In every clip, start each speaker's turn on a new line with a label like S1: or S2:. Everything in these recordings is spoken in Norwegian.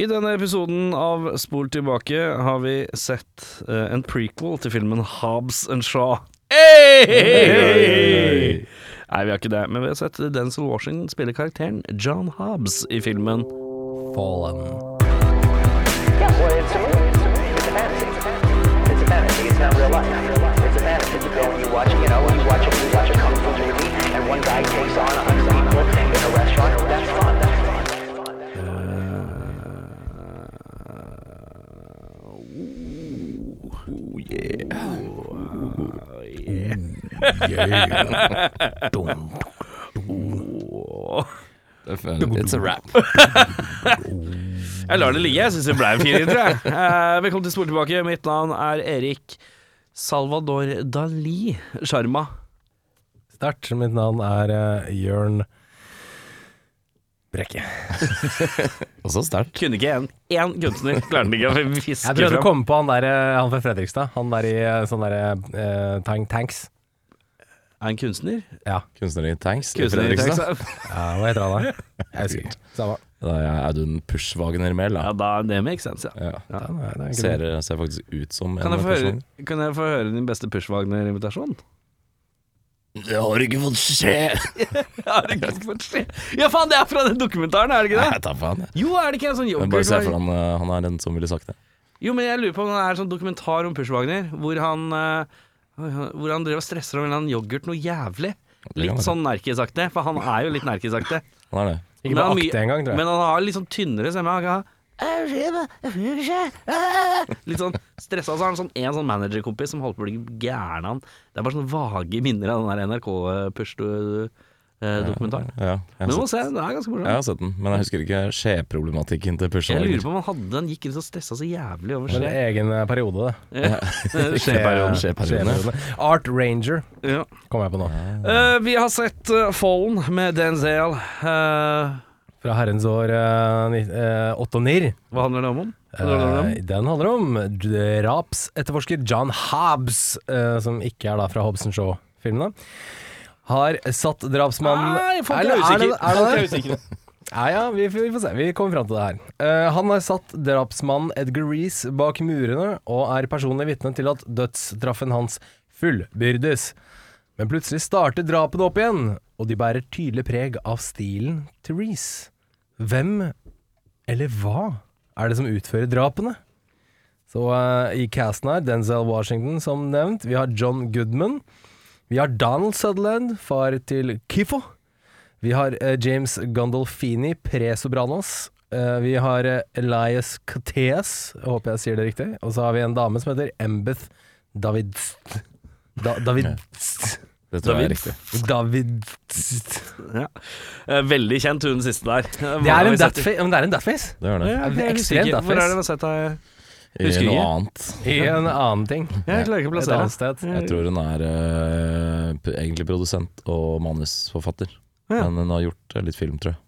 S1: I denne episoden av Spol tilbake har vi sett eh, en prequel til filmen Hobbs and Shaw. Hey! Nei, vi har ikke det, men vi har sett Denzil Washington spille karakteren John Hobbs i filmen Fallen.
S2: Yeah, well, it's a movie. It's a fantasy. It's a fantasy. It's not real life. It's a fantasy. You go and you watch, you know, you watch a, you watch a kung fu movie, and one guy takes on a hundred people in a restaurant. That's fun. That's fun. That's fun.
S1: Oh,
S3: It's a wrap.
S1: Jeg lar det ligge, jeg syns det ble en fin intro, jeg. Eh, velkommen til Spol tilbake, mitt navn er Erik Salvador Dali Sharma.
S4: Sterkt. Mitt navn er uh, Jørn Brekke.
S3: Og så sterkt.
S1: Kunne ikke en, én kunstner klare det ikke å
S4: Jeg
S1: fiske
S4: prøvde å
S1: fram.
S4: komme på han der eh, Han fra Fredrikstad. Han der i eh, sånn derre eh, tank Tanks.
S1: Er en kunstner?
S4: Ja.
S3: Kunstner i tanks. i
S1: Kunstner i
S3: Fredrikstad.
S1: Texas.
S4: ja, hva heter han da? Jeg husker ikke. Samme.
S3: Da er jeg Audun Pushwagner Mehl,
S1: Ja,
S3: da.
S1: da, det makes sense, ja.
S3: Ja.
S4: Ja, nei, det er ikke
S3: Ser,
S4: det.
S3: ser faktisk ut som
S1: Kan
S3: en
S1: jeg, få høre,
S3: person.
S1: kan jeg få høre din beste Pushwagner-invitasjon?
S3: Det har ikke fått skje!
S1: Ja, faen, det er fra den dokumentaren, er det ikke det?
S3: Jeg tar faen, jeg.
S1: Jo, er det ikke en sånn
S3: Men
S1: yoghurt
S3: bare se for han, eh, han er den som ville sagt det.
S1: Jo, men jeg lurer på om det er en sånn dokumentar om Pushwagner, hvor han eh, hvor han drev og stresser om en eller annen yoghurt noe jævlig.
S3: Det kan
S1: Litt
S3: være.
S1: sånn nerkesakte, for han er jo litt nerkesakte.
S3: Han er det.
S4: Ikke
S1: Men
S4: bare
S1: han er mye-
S4: akte engang, tror jeg.
S1: Men han har litt sånn tynnere stemme. Han kan ha Litt sånn stressa, så har han sånn en sånn managerkompis som holdt på å bli gæren av han. Det er bare sånne vage minner av den der eh, NRK-push-dokumentaren.
S3: Ja, jeg,
S1: eh, Men
S3: har
S1: du må
S3: sett,
S1: se, det sånn. er ganske
S3: jeg
S1: morsomt.
S3: har sett den, men jeg husker ikke skjeproblematikken til
S1: Jeg
S3: Pushwagner.
S1: lurer på om han hadde den, gikk rundt og stressa så jævlig over
S4: Men det
S1: skje.
S4: er egen eh, periode, det.
S3: Skjeperioden.
S4: Skje-
S3: Skjeperiode.
S4: skjeperiode. Art Ranger
S1: Ja.
S4: kom jeg på nå.
S1: Eh, vi har sett eh, Fallen med Denzel. Eh,
S4: Fra herrens år eh, ni- eh, åtte og nirr.
S1: hva handler det om? om? Hva handler det om?
S4: Eh, Den handler om drapsetterforsker John Hobbs, eh, som ikke er da fra Hobson Show-filmene. Har satt drapsmannen
S1: Nei, folk er
S4: Eller det-
S1: usikre. Folk er
S4: Er det det? Nei, ja, vi, vi får se. Vi kommer fram til det her. Eh, han har satt drapsmannen Edgar Reece bak murene, og er personlig vitne til at dødstraffen hans fullbyrdes. Men plutselig starter drapene opp igjen, og de bærer tydelig preg av stilen til Reece. Hvem eller hva er det som utfører drapene? Så eh, i casten her, Denzel Washington som nevnt, vi har John Goodman, vi har Donald Sutherland, far til Kifo, vi har eh, James Gandolfini, pre-Sobranos, Eh, vi har eh, Elias Cateas, jeg håper jeg sier det riktig, og så har vi en dame som heter Embeth David... Da, David...
S3: Det tror jeg
S1: David?
S3: er riktig.
S4: David...
S1: Ja. Eh, Veldig kjent, hun siste der. Eh,
S4: Det er en datface, men det er en datface.
S3: Det gjør det.
S1: Ja, det er litt
S4: Ekstremt
S1: sikkert. Hvor
S4: datface.
S1: er det vi har sett deg?
S3: I
S1: Husker
S3: noe
S1: ikke.
S3: annet.
S4: I en annen ting.
S1: Jeg klarer ikke å
S4: Et
S1: plassere
S4: annet sted.
S3: Jeg tror hun er eh, p- egentlig produsent og manusforfatter.
S1: Ja.
S3: Men hun har gjort eh, litt film, tror jeg.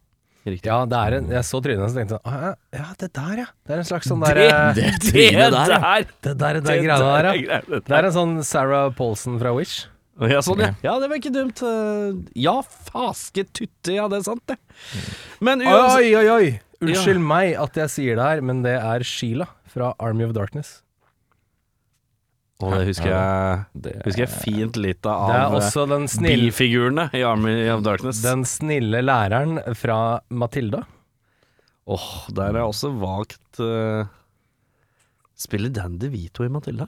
S1: Riktig.
S4: Ja, det er en, jeg så trynet hans og tenkte sånn, «Å, ja, Ja, det der, ja. Det er en slags sånn
S1: Det,
S4: der
S1: det,
S4: eh,
S1: det,
S3: trynet der,
S1: der,
S3: ja.
S4: Det der, det
S1: det
S4: der greiene der, ja.
S1: greiene
S4: Det er en sånn Sarah Paulson fra Wish.
S1: Ja, sånn, ja. ja, det var ikke dumt. Eh, Ja, faske tutte, ja, det er sant, det. Men uansett
S4: Mm. Oi, oi, oi! Unnskyld meg at jeg sier det her, men det er Sheila fra Army of Darkness.
S1: Å, det husker jeg,
S3: Det er,
S1: husker jeg fint lite
S4: Det er
S1: av eh,
S4: også den snille,
S1: bifigurene i Army of Darkness. Åh,
S4: den snille læreren fra Matilda.
S1: der er jeg også vagt eh, Spiller Dan DeVito i Matilda?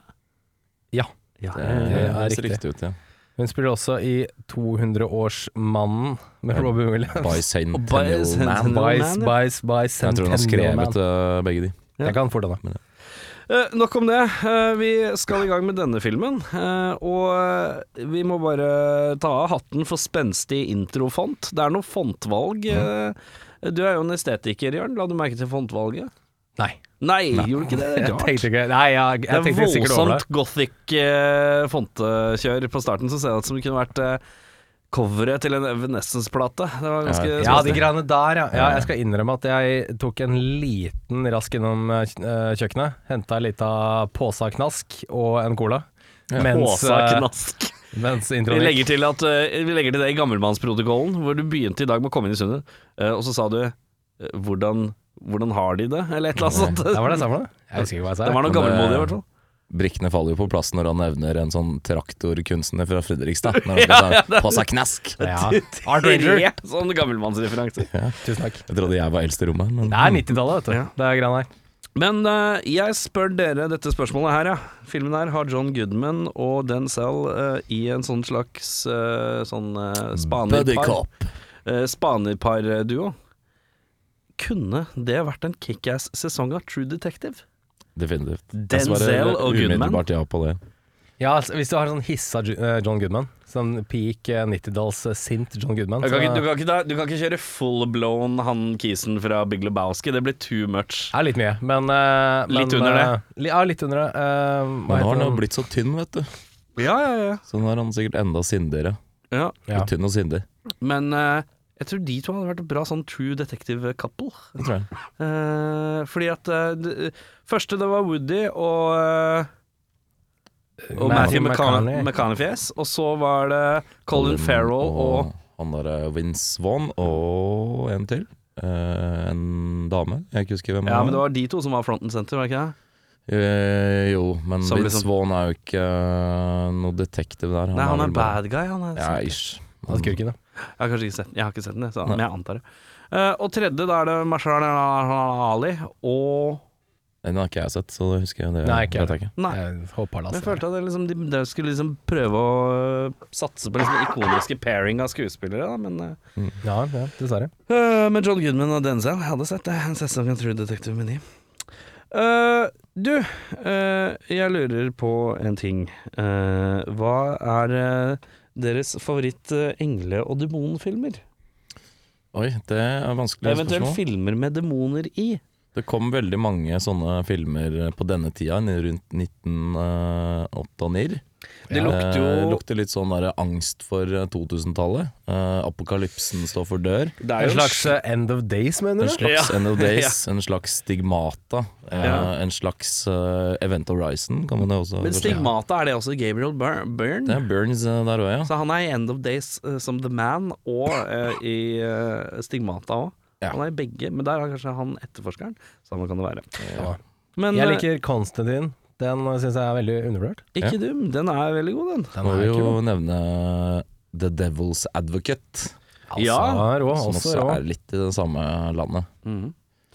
S4: Ja.
S1: Ja, ja,
S3: det
S1: ja.
S4: er
S3: det eh, ser
S4: riktig.
S3: riktig ut, ja.
S4: Hun spiller også i 200-årsmannen med
S3: Ja,
S4: Robin Williams.
S3: Bicentennial Man.
S1: Bicentennial-
S4: Bice, bice, bice,
S3: Jeg tror hun har
S4: man.
S3: skrevet eh, begge de.
S4: Jeg kan fort henne.
S1: Eh, nok om det. Eh, vi skal i gang med denne filmen. eh, og eh, vi må bare ta av hatten for spenstig introfont. Det er noe fontvalg. eh, du er jo en estetiker, Jørn. La du merke til fontvalget?
S4: Nei.
S1: Nei, gjorde du ikke det? Det er
S4: Jeg
S1: rart.
S4: tenkte ikke Nei, jeg, jeg
S1: det
S4: tenkte
S1: er
S4: sikkert over det.
S1: voldsomt gothic eh, fontekjør på starten, så ser det ut som det kunne vært eh, coveret til en Evanescence-plate. Det var ganske
S3: Ja,
S4: Ja,
S1: spenstig.
S4: de greiene der, ja. ja. Jeg skal innrømme at jeg tok en liten rask innom eh, kj- eh, kjøkkenet. Henta ei lita påsa knask og en cola. Mens,
S1: Åsa
S4: eh,
S1: Knask.
S4: mens
S1: Vi
S4: introen
S1: legger,
S4: gikk.
S1: til at, eh, vi legger til det i gammelmannsprotokollen, hvor du begynte i dag med å komme inn i sundet, eh, og så sa du eh, hvordan Hvordan har de det? Eller et eller annet
S4: Der
S1: sånt.
S4: var det, eh, der var det. Jeg husker ikke hva jeg sa.
S1: Den var noe
S3: Men det-
S1: gammelmodig, i hvert fall.
S3: Brikkene faller jo på plass når han nevner en sånn traktorkunstner fra Fredrikstad. Når han sånn, skal
S1: Ja, ja,
S3: ta
S1: det-
S3: på seg knask.
S4: Ja. Art Ranger.
S1: Tre Sånn gammelmannsreferanser.
S4: Tusen takk.
S3: Jeg trodde jeg var eldst i rommet, men
S4: Det er 90-tallet, vet du. Det er greia der.
S1: Men eh, jeg spør dere dette spørsmålet her, ja. Filmen her har John Goodman og Denzel eh, i en sånn slags eh, sånn eh,
S3: Buddy
S1: spanerpar.
S3: cop.
S1: eh, Spanerparduo. Kunne det vært en kickass-sesong av True Detective?
S3: Definitivt. Jeg
S1: Denzel
S3: svarer
S1: og Goodman.
S3: Umiddelbart ja på det.
S4: Ja, altså, Hvis du har sånn hissa Ju- eh, John Goodman, sånn peak eh, 90-dalls eh, sint John Goodman
S1: Du kan, ikke,
S4: så-
S1: du,
S3: Altså-
S1: kan ikke, da- du kan ikke kjøre full-blown han kisen fra Big Lebowski, det blir too much.
S4: er litt mye, men, eh, men
S1: Litt under det.
S4: eh, li, Ja, litt under det. Eh, hva
S3: Men nå
S4: heter
S3: har han jo
S4: den?
S3: blitt så tynn, vet du.
S1: Ja, ja, ja.
S3: Så nå er han sikkert enda sindigere.
S1: ja.
S4: ja.
S3: Tynn og sindig.
S1: Men eh, jeg tror de to hadde vært et bra sånn True Detective-couple.
S3: Det tror jeg.
S1: Eh, fordi at eh, det- Første det var Woody og, eh, og Matthew
S4: Matthew
S1: McCona-
S4: McConaughey.
S1: McConaughey-fjes. Og så var det Colin Farrell og
S3: Han der er Vince Vaughn og en til. Eh, en dame. Jeg kan ikke husker hvem
S1: Ja, men
S3: han
S1: det
S3: var.
S1: var de to som var fronten center, var det ikke det?
S3: Eh, jo, men
S1: Som
S3: Vince
S1: liksom-
S3: Vaughn er jo ikke eh, noe detektiv der.
S1: Nei, han er
S3: vel bare-
S1: bad guy, han er
S3: Ja, ish.
S4: Han er skurken, ja.
S1: Jeg har kanskje ikke sett den, jeg har ikke sett den, jeg, så, men jeg antar det. Eh, og tredje, da er det Marshall Ali og
S3: Den har ikke jeg sett, så det husker jeg. Det
S4: Nei, ikke
S3: vet jeg ikke.
S1: Nei.
S4: Jeg håper det,
S1: Men jeg
S4: altså.
S1: følte at det liksom, de, de skulle liksom prøve å øh, satse på liksom ikoniske pairing av skuespillere, da, men øh,
S4: Ja, ja, dessverre.
S1: øh, Men John Goodman og Denzel jeg hadde sett det. En sesong av True Detective med de. Øh, du, øh, jeg lurer på en ting. Øh, hva er øh, deres favoritt øh, engle- og demonfilmer?
S3: Oi, det er vanskelig
S1: Eventuelt
S3: spørsmål.
S1: filmer med demoner i.
S3: Det kom veldig mange sånne filmer eh, på denne tida, rundt eh, 1989.
S1: Det lukter
S3: Eh,
S1: jo
S3: lukter litt sånn der angst for eh, 2000-tallet. Eh, apokalypsen står for dør.
S1: Det er
S4: En
S1: jo
S4: slags eh, End of Days, mener
S3: En
S4: du?
S3: slags
S1: Ja.
S3: End of Days, en slags Stigmata. eh,
S1: Ja.
S3: En slags eh, Event Horizon, kan man jo også
S1: Men stigmata, er det også Gabriel Bur- Byrne?
S3: Det er Burns eh, der òg, ja.
S1: Så han er i End of Days eh, som The Man, og eh, i eh, Stigmata òg.
S3: Ja.
S1: Han er i begge, men der er kanskje han etterforskeren. Samme kan det være.
S4: Ja.
S1: Men
S4: Jeg
S1: eh,
S4: liker Constantine. Den syns jeg er veldig undervurdert.
S1: ikke dum, den er veldig god, den.
S4: Den
S3: Må
S4: er
S3: vi
S4: kul,
S3: jo nevne eh, The Devil's Advocate,
S4: altså,
S1: Ja,
S4: rå,
S3: som
S4: også
S3: også
S4: rå.
S3: er litt i det samme landet.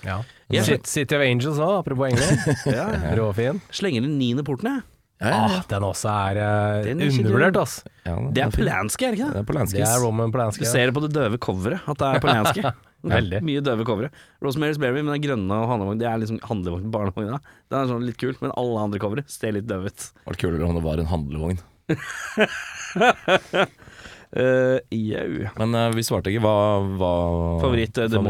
S4: Ja.
S1: Jeg-
S4: City- City of Angels òg, apropos engler.
S1: Ja.
S4: Råfin.
S1: Slenger inn niende porten, jeg.
S4: Ah, den også er eh,
S1: Den er ikke
S4: undervurdert,
S1: dum.
S4: ass.
S3: Ja,
S1: Det er
S3: fint.
S1: Polanski, er det ikke
S3: Det
S1: det?
S3: er Polanskis.
S4: Det er Roman Polanski.
S1: Du
S4: ja.
S1: ser det på det døve coveret, at det er Polanski.
S4: Veldig.
S1: Mye døve covere. Rosemary's Berry med den grønne og handlevogn, det er liksom handlevogn på barnevogna. Den er sånn litt kul, men alle andre covere ser litt døve ut.
S3: Det var kulere om det var en handlevogn.
S1: Eh, Jau.
S3: Men eh, vi svarte ikke. Hva, hva
S1: eh,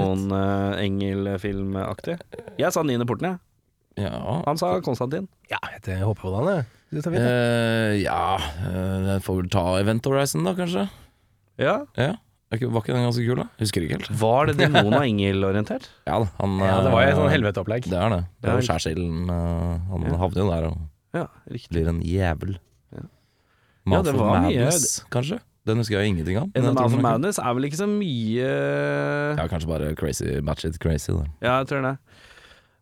S1: Favoritt-demon-engel-filmaktig? Jeg sa niende porten, jeg.
S3: Ja,
S1: Han sa Konstantin.
S4: Ja, jeg håper på den, jeg. Du tar fint, jeg.
S3: Eh, ja eh, Jeg får vel ta Event Horizon, da, kanskje.
S1: Ja.
S3: Ja. Er ikke- Var ikke den ganske kul, da? Husker ikke helt.
S1: Var det demon- og engelorientert?
S3: Ja da, han
S4: Ja, det var jo
S3: eh,
S4: et sånn helveteopplegg.
S3: Det er det. Det
S1: Ja,
S3: var
S1: ikke-
S3: skjærsilden. eh, han
S1: Ja.
S3: havner jo der og
S1: Ja, riktig.
S3: blir en jævel.
S1: Ja,
S3: Mouth
S1: det
S3: of
S1: var mye-
S3: Madness, kanskje? Den husker jeg ingenting av. men
S1: In the
S3: jeg tror
S1: Mouth of
S3: den er kul.
S1: Madness er vel ikke så mye
S3: Ja, kanskje bare crazy match it crazy. Da.
S1: Ja, jeg tror det.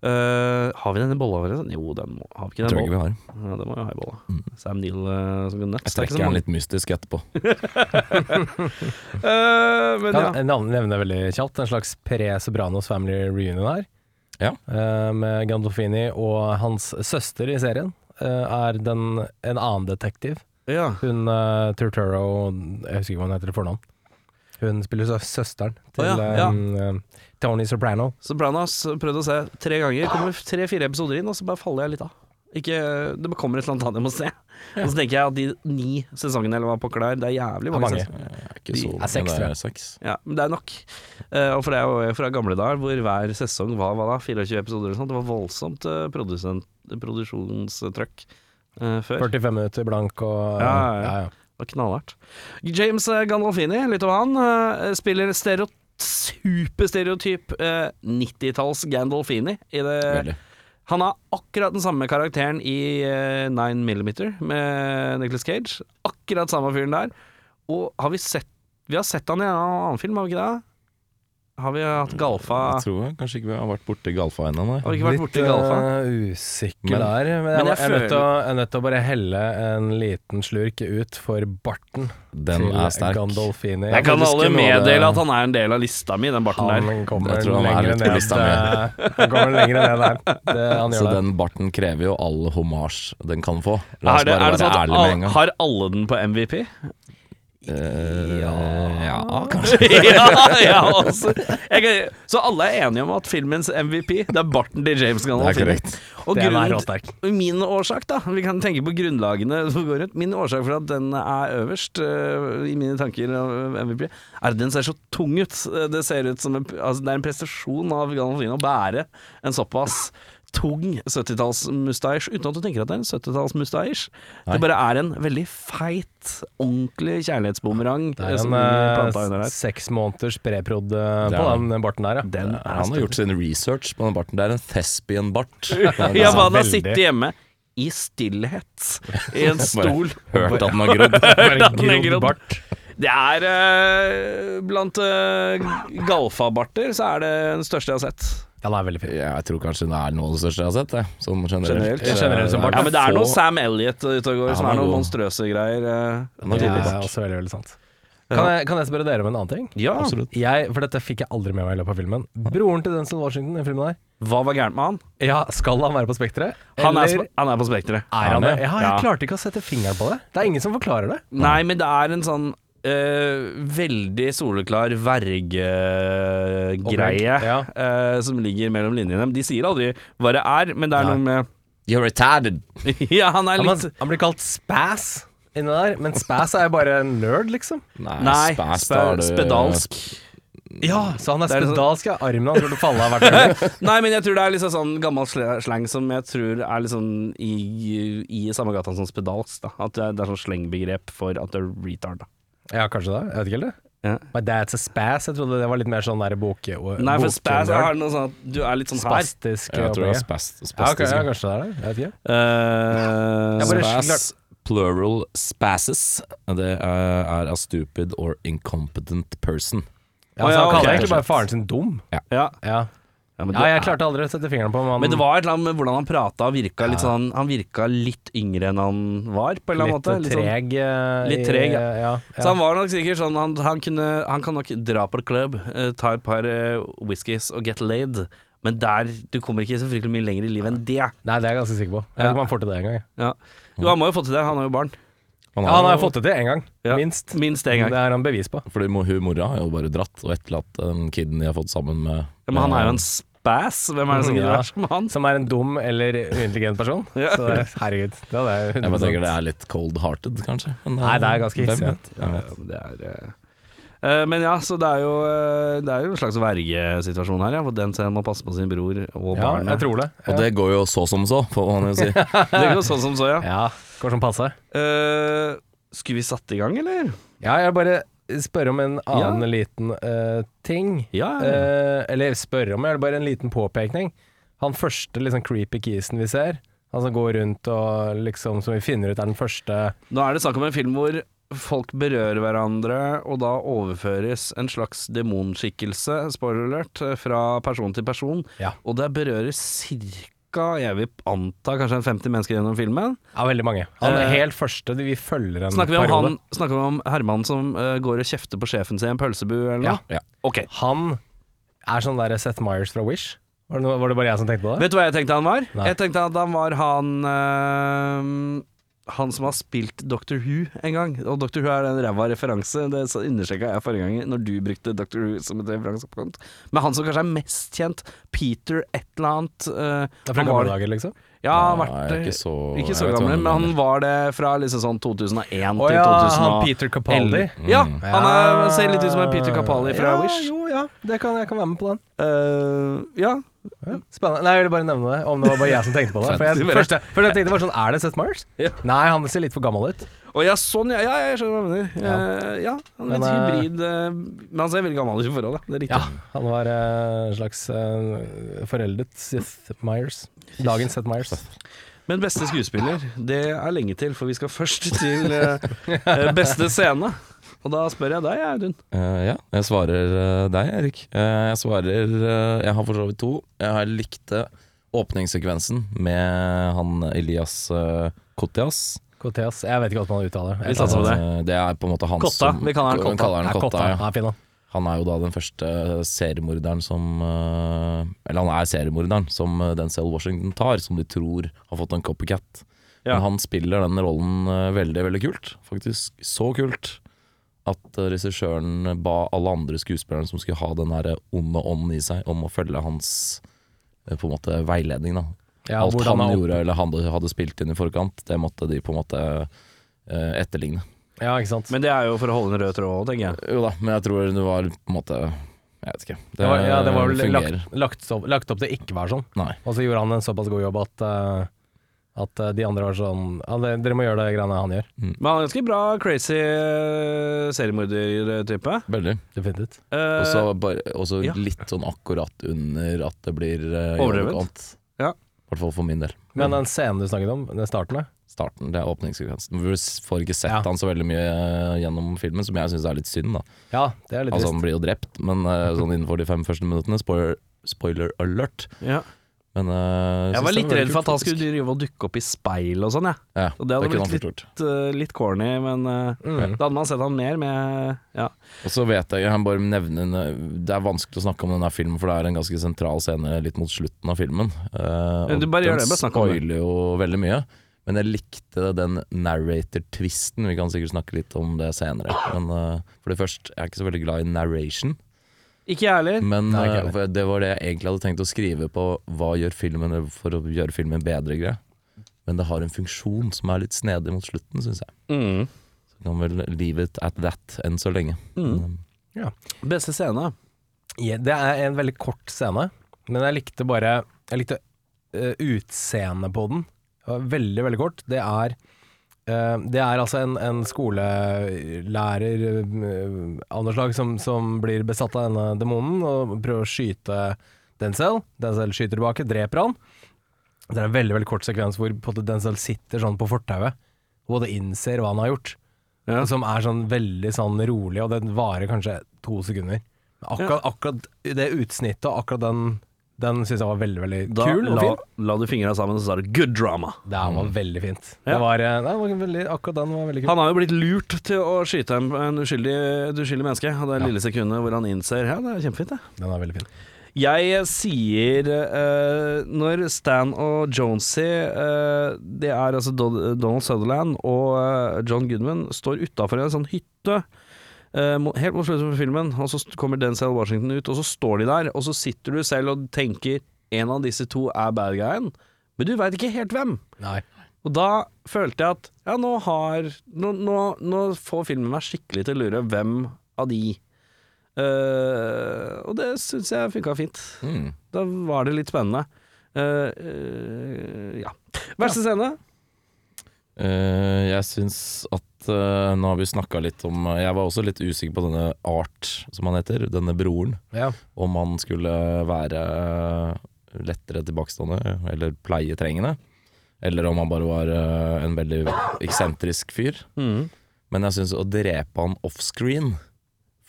S1: Eh, har vi den i bolla vår? Jo, den må har vi ikke
S3: Jeg
S1: den
S3: tror
S1: i
S3: ikke
S1: bolla.
S3: vi har.
S1: Ja, den må jo ha i bolla. Sam Neill eh, som kunne
S3: Jeg trekker den litt mystisk etterpå.
S1: Eh, men
S4: Kan
S1: ja.
S4: jeg navn- nevne veldig kjapt en slags Pere Sobranos family reunion her.
S3: Ja.
S4: Eh, med Gandolfini og hans søster i serien eh, er den, en annen detektiv.
S1: ja.
S4: Hun uh, Turturro Jeg husker ikke hva hun heter til fornavn. Hun spiller sø søsteren til
S1: Å ja, ja.
S4: em, em, Tony Soprano.
S1: Så Branas prøvde å se tre ganger. Kommer tre-fire episoder inn, og så bare faller jeg litt av. Ikke, det kommer et eller annet annet jeg må se. Og så tenker jeg at de ni sesongene eller hva pokker det er, det er jævlig
S4: Det er
S1: mange.
S4: mange.
S1: sesonger.
S3: Jeg er ikke
S1: De
S3: så,
S4: er seks,
S3: men
S4: tror
S3: det
S4: jeg.
S3: er seks.
S1: Ja, men det er nok. Eh, og for det er jo fra gamle dager hvor hver sesong var hva da, 24 episoder eller sånt. Det var voldsomt eh, produsent- produksjonstrøkk eh, før.
S4: 45 minutter blank og
S1: Ja, ja, ja. Det var knallhardt. James eh, Gandolfini, litt om han, eh, spiller stereo superstereotyp eh, 90-talls Gandolfini i det
S3: Veldig.
S1: Han har akkurat den samme karakteren i eh, 9mm med Nicolas Cage. Akkurat samme fyren der. Og har vi sett Vi har sett han i en annen film, har vi ikke det? Har vi hatt Galfa?
S3: Jeg tror jeg kanskje ikke vi har vært borti Galfa ennå,
S1: Har
S3: nei.
S1: vi ikke vært borti Galfa?
S4: eh, usikker
S3: Men-
S4: der. Men, jeg,
S1: Men jeg
S4: jeg, er nødt
S1: føler-
S4: til å, jeg er nødt til å bare helle en liten slurk ut for barten
S3: Den
S4: til
S3: er sterk.
S4: Gandolfini.
S1: Jeg kan
S3: faktisk
S1: alle
S3: noe av det-
S1: meddele at han er en del av lista mi, den barten der.
S4: Han kommer
S3: Jeg tror han er
S4: lenger
S3: litt på
S4: ned
S3: lista
S4: eh, Han kommer lenger ned der. Det, han
S3: Så
S4: gjør det.
S3: den barten krever jo all homasj den kan få. La
S1: Er det, er
S3: oss bare
S1: det
S3: være
S1: sånn at
S3: ærlige med en
S1: alle,
S3: gang.
S1: har alle den på MVP?
S3: ja, Eh, ja, kanskje.
S1: ja, ja, altså. Jeg kan, så alle er enige om at filmens MVP, det er barten til James
S3: Det er
S1: Gandolfini.
S3: korrekt.
S1: Og
S4: Den er
S1: grunnen,
S4: råsterk.
S1: min årsak, da Vi kan tenke på grunnlagene som går rundt. Min årsak for at den er øverst øh, i mine tanker av eh, MVP, er at den ser så tung ut. Det ser ut som en, altså, det er en prestasjon av Gandolfini å bære en såpass tung 70-tallsmustasje uten at du tenker at det er en 70-tallsmustasje.
S3: Nei.
S1: Det bare er en veldig feit, ordentlig kjærlighetsbumerang
S4: Det er
S1: som
S4: en
S1: blir planta
S4: eh,
S1: under der.
S4: seks måneders preprod eh,
S3: Det
S4: på
S3: er
S4: den barten der, ja.
S1: Den er
S3: Han har gjort sin research på den barten. Det er en thespian-bart.
S1: Ja, hva da?
S4: Veldig.
S1: Sitte hjemme i stillhet i en stol.
S3: Hørt at den har grodd.
S1: Hørt at den
S4: Grodd
S1: legger opp.
S4: bart.
S1: Det er eh, Blant uh, galfabarter så er det den største jeg har sett.
S4: Den er veldig fin.
S3: Jeg tror kanskje det er noe av det største jeg har sett. Jeg. Sånn generelt.
S1: Generelt.
S3: Eh,
S4: Generelt som bart.
S1: Ja, men det er
S3: få-
S1: noe Sam Elliot ute og går
S3: Ja,
S1: som
S3: han
S1: er
S3: er
S1: noen
S3: god.
S1: monstrøse greier. eh.
S3: Han er
S4: Det
S3: tidlig
S4: er
S3: bart.
S4: også veldig, veldig sant. Kan jeg, kan jeg spørre dere om en annen ting?
S1: ja,
S3: Absolutt.
S4: Jeg, for dette fikk jeg aldri med meg i løpet av filmen. Broren til Denzel Washington i filmen her,
S1: hva var gærent med han?
S4: ja, skal han være på Spekteret?
S1: Han er,
S4: Eller
S1: sp- han er på Spekteret.
S4: er han det? Ja, jeg
S1: Ja.
S4: klarte ikke å sette fingeren på det. Det er ingen som forklarer det.
S1: Nei, men det er en sånn eh, veldig soleklar vergegreie
S4: Ja.
S1: eh, som ligger mellom linjene. Men De sier aldri hva det er, men det er
S4: Nei.
S1: noe med
S3: You're retarded.
S1: Ja, han er
S4: Han,
S1: litt
S4: han, han blir kalt Spass inni der, men Spass er jo bare en nerd, liksom.
S1: Nei,
S3: spæst,
S1: spe,
S3: da er det-
S1: spedalsk.
S4: Ja, så han er
S1: Det er sånn-
S4: spedalsk, ja. Armen hans burde falle av hvert øyeblikk.
S1: Nei, men jeg tror det er liksom sånn gammel sle- slang som jeg tror er liksom i, i samme gata som spedalsk, da. At det er, det er sånn slengbegrep for at du er retard, da.
S4: Ja, kanskje det. Jeg vet ikke helt det.
S1: Ja.
S4: My dad's a spass. Jeg trodde det var litt mer sånn der bok...
S1: Nei, for spæs
S4: boknerd.
S1: er noe sånn at du er litt sånn her.
S4: Spastisk.
S3: Jeg tror det er
S4: opplegg.
S3: spæst.
S4: ja, ok,
S3: spastisk,
S4: ja,
S3: ja.
S4: kanskje det er det. Jeg vet ikke.
S1: Eh,
S4: Jeg bare-
S3: Spass, plural spasses. Det er, er a stupid or incompetent person.
S1: Å,
S4: Ja, så
S1: ja,
S4: han
S1: ok.
S4: kaller egentlig bare faren sin dum.
S1: ja.
S4: Ja,
S1: ja, men
S4: ja
S1: det
S4: jeg
S1: er-
S4: klarte aldri å sette fingeren på om han
S1: Men det var et eller annet med hvordan han prata, han virka litt sånn Han virka litt yngre enn han var, på en eller annen
S4: litt
S1: måte. Litt sånn-
S4: treg. eh,
S1: Litt
S4: i-
S1: treg, ja.
S4: ja. ja,
S1: Så han var nok sikkert sånn Han, han, kunne, han kan nok dra på et club, eh, ta et par uh, whiskies og get laid, men der Du kommer ikke så fryktelig mye lenger i livet enn det.
S4: Nei, det er jeg ganske sikker på. Jeg vet
S1: Ja.
S4: ikke om han får til det engang. jeg.
S1: Ja. Jo, han må jo få til det, han har jo barn.
S4: Ja, han har jo fått det til én gang,
S1: Ja.
S4: minst.
S1: Minst én gang.
S4: Det har han bevis på.
S3: Fordi mo- hun mora har jo bare dratt og etterlatt den kiden de har fått sammen med.
S1: Ja, men han er jo en spass, hvem er det som gidder å
S4: Mm, Ja.
S1: være som han?
S4: Som er en dum eller uintelligent person.
S1: Ja.
S4: Så det, herregud. Det hadde jeg
S3: Jeg
S4: 100%
S3: bare tenker det er litt cold-hearted, kanskje. Men
S4: Nei, det er ganske
S3: hvem
S4: hissig, ja.
S3: vet? Hvem vet?
S1: men det er eh, eh, men ja, så det er jo, eh, det er jo en slags vergesituasjon her, ja, for den selv må passe på sin bror og
S4: Ja,
S1: barnet.
S4: jeg tror det.
S3: Og det går jo så som så, får man jo si.
S1: Det går sånn som så, ja.
S4: Ja, går som passe.
S1: Eh, skulle vi satt i gang, eller?
S4: Ja, jeg bare spør om en annen liten eh, ting.
S1: Ja.
S4: Eh, eller spørre om, eller bare en liten påpekning. Han første liksom creepy kisen vi ser, han som går rundt og liksom som vi finner ut er den første
S1: Nå er det snakk om en film hvor folk berører hverandre, og da overføres en slags demonskikkelse, spoiler alert, fra person til person.
S4: Ja.
S1: Og det berører cirka, jeg vil anta, kanskje en 50 mennesker gjennom filmen.
S4: Ja, veldig mange. Han er
S1: Eh,
S4: helt første de vi følger en
S1: Snakker vi om,
S4: periode.
S1: han, snakker vi om Herman som eh, går og kjefter på sjefen sin i en pølsebu eller noe?
S4: Ja.
S3: Ja.
S1: Ok.
S4: Han er sånn der Seth Meyers fra Wish. Var det, noe, var det bare jeg som tenkte på det?
S1: Vet du hva jeg tenkte han var?
S4: Nei.
S1: Jeg tenkte at han var han eh, han som har spilt Dr. Who en gang, og Dr. Who er en ræva referanse, det understreka jeg forrige gang når du brukte Dr. Who som et referansepunkt. Men han som kanskje er mest kjent, Peter et eller annet eh,
S4: Det er fra
S1: han var-
S4: gamle dager, liksom?
S1: Ja, han har
S3: Nei,
S1: vært
S3: jeg er
S1: eh,
S3: ikke så,
S1: ikke
S3: jeg
S1: så
S3: vet
S1: gammel,
S3: hvem du
S1: men han
S3: mener.
S1: var det fra liksom sånn 2001
S4: Å
S1: til
S4: ja,
S1: 2011.
S4: han Peter Capaldi.
S1: Ja, han er, ser litt ut som en Peter Capaldi fra
S4: ja,
S1: Wish.
S4: Jo, ja, det kan, jeg kan være med på den.
S1: Eh, ja,
S4: Spennende. Nei, Jeg ville bare nevne det, om det var bare jeg som tenkte på det. For jeg,
S1: Fett.
S4: første, første jeg tenkte var sånn, er det Seth Meyers?
S1: Ja.
S4: Nei, han ser litt for gammel ut.
S1: Å ja, sånn, ja, ja, jeg skjønner hva du mener. Eh, Ja, han er litt
S4: Men, eh,
S1: hybrid, eh, men han ser veldig gammel ut i forhold, ja. Det er riktig.
S4: Ja, han var eh, en slags eh, foreldet Seth Meyers. Dagens Seth Meyers.
S1: Men beste skuespiller, det er lenge til, for vi skal først til eh, eh, beste scene. Og da spør jeg deg, Audun.
S3: Eh, ja, jeg svarer eh, deg, Erik. Eh, jeg svarer eh, Jeg har for så vidt to. Jeg har- likte åpningssekvensen med han Elias uh, Kotias.
S4: Koteas. Jeg vet ikke hvordan man uttaler
S1: Vi satser på det.
S3: Eh, det er på en måte han
S1: Kotta.
S3: som
S1: Vi kaller han Kotta.
S3: kaller han
S4: Ja,
S3: Kotta,
S4: Kotta.
S3: ja.
S4: Ja, fin, da.
S3: Han er jo da den første seriemorderen som eh, Eller han er seriemorderen som eh, Denzel Washington tar, som de tror har fått en copycat.
S1: Ja.
S3: Men han spiller den rollen eh, veldig, veldig kult. Faktisk så kult at eh, regissøren ba alle andre skuespillere som skulle ha den her onde ånden i seg, om å følge hans eh, på en måte veiledning. da
S4: Ja,
S3: Alt
S4: hvordan
S3: han
S4: er opp-
S3: gjorde eller han hadde spilt inn i forkant, det måtte de på en måte eh, etterligne.
S4: Ja, ikke sant.
S1: Men det er jo for å holde en rød tråd, tenker jeg.
S3: Jo da, men jeg tror det var på en måte Jeg vet ikke.
S4: det var, ja, det var vel
S3: fungerer.
S4: lagt, lagt, opp, lagt opp til ikke være sånn.
S3: Nei.
S4: Og så gjorde han en såpass god jobb at, eh, at eh, de andre var sånn Ja, det, dere må gjøre det greiene han gjør.
S1: Men han er ganske bra crazy eh, seriemorder-type.
S3: Veldig.
S4: Definitivt.
S1: Eh,
S3: Og så bare- og så
S1: ja.
S3: litt sånn akkurat under at det blir eh, i
S1: Overdrevet.
S3: overkant.
S1: Ja.
S3: I hvert fall for min del.
S4: Men den scenen du snakket om, den starten der
S3: Starten, det er åpningssekvensen. Vi får ikke sett
S4: Ja.
S3: han så veldig mye eh, gjennom filmen, som jeg syns er litt synd. da
S4: Ja, det er litt
S3: Altså
S4: trist.
S3: Han blir jo drept, men eh, sånn innenfor de fem første minuttene. Spoiler, spoiler alert.
S1: ja.
S3: Men eh,
S1: Jeg
S3: synes
S1: var
S3: det
S1: litt redd
S3: veldig
S1: for at
S3: kult,
S1: han skulle
S3: faktisk.
S1: drive og dukke opp i speil og sånn, jeg.
S3: ja,
S1: Og
S3: Det
S1: det hadde
S3: kunne
S1: blitt
S3: han fort
S1: litt,
S3: gjort.
S1: eh, litt corny, men eh,
S4: Mm.
S1: da hadde man sett han mer med Ja.
S3: Og så vet jeg, jeg bare nevner en- Det er vanskelig å snakke om denne filmen, for det er en ganske sentral scene litt mot slutten av filmen. Eh,
S1: Men du
S3: og
S1: bare gjør
S3: den
S1: det, bare snakk om det.
S3: spoiler jo veldig mye. Men jeg likte den narrator-twisten. Vi kan sikkert snakke litt om det senere. Men eh, for det første, jeg er ikke så veldig glad i narration.
S1: Ikke jeg heller.
S3: Men
S4: Nei, ikke jeg
S3: eh, for det var det jeg egentlig hadde tenkt å skrive på hva gjør filmen for å gjøre filmen bedre. Greie. Men det har en funksjon som er litt snedig mot slutten, syns jeg.
S1: Mm.
S3: Så kan vel leave it at that enn så lenge.
S1: Mm.
S3: Men,
S1: Beste scene.
S4: Ja, det er en veldig kort scene, men jeg likte bare Jeg likte eh, utseendet på den. Det var Veldig, veldig kort. Det er eh, det er altså en, en skolelærer eh, av noe slag som, som blir besatt av denne demonen og prøver å skyte Denzel. Denzel skyter tilbake, dreper han. Det er en veldig veldig kort sekvens hvor på en måte Denzel sitter sånn på fortauet og både innser hva han har gjort.
S1: Ja.
S4: Som er sånn veldig sånn rolig, og den varer kanskje to sekunder. Men Akkurat, akkurat det utsnittet og akkurat den, den syns jeg var veldig veldig
S1: Da
S4: kul og
S1: la,
S4: fin.
S1: la du fingra sammen, og så sa du 'good drama'.
S4: Det her var veldig fint.
S1: Mm. Ja.
S4: Det var, eh, det var veldig, akkurat den var veldig kul.
S1: Han har jo blitt lurt til å skyte en, en uskyldig, et uskyldig menneske, og det lille sekundet hvor han innser Ja, det er kjempefint, det.
S4: Den er veldig fin.
S1: Jeg sier eh, når Stan og Jonesy, eh, det er altså Don- Donald Sutherland og eh, John Goodman, står utafor en sånn hytte eh, mo- helt mot slutten av filmen, og så st- kommer Denzel Washington ut, og så står de der, og så sitter du selv og tenker en av disse to er bad guyen, men du veit ikke helt hvem.
S4: Nei.
S1: Og da følte jeg at ja, nå har Nå, nå, nå får filmen meg skikkelig til å lure hvem av de. Eh, og det syns jeg funka fint.
S3: mm.
S1: Da var det litt spennende. Eh, eh, ja. Verste scene?
S3: Eh, jeg syns at eh, Nå har vi snakka litt om Jeg var også litt usikker på denne Art, som han heter. Denne broren.
S4: Ja.
S3: Om han skulle være lettere tilbakestående eller pleietrengende. Eller om han bare var eh, en veldig eksentrisk fyr.
S1: Mm.
S3: Men jeg syns å drepe han offscreen,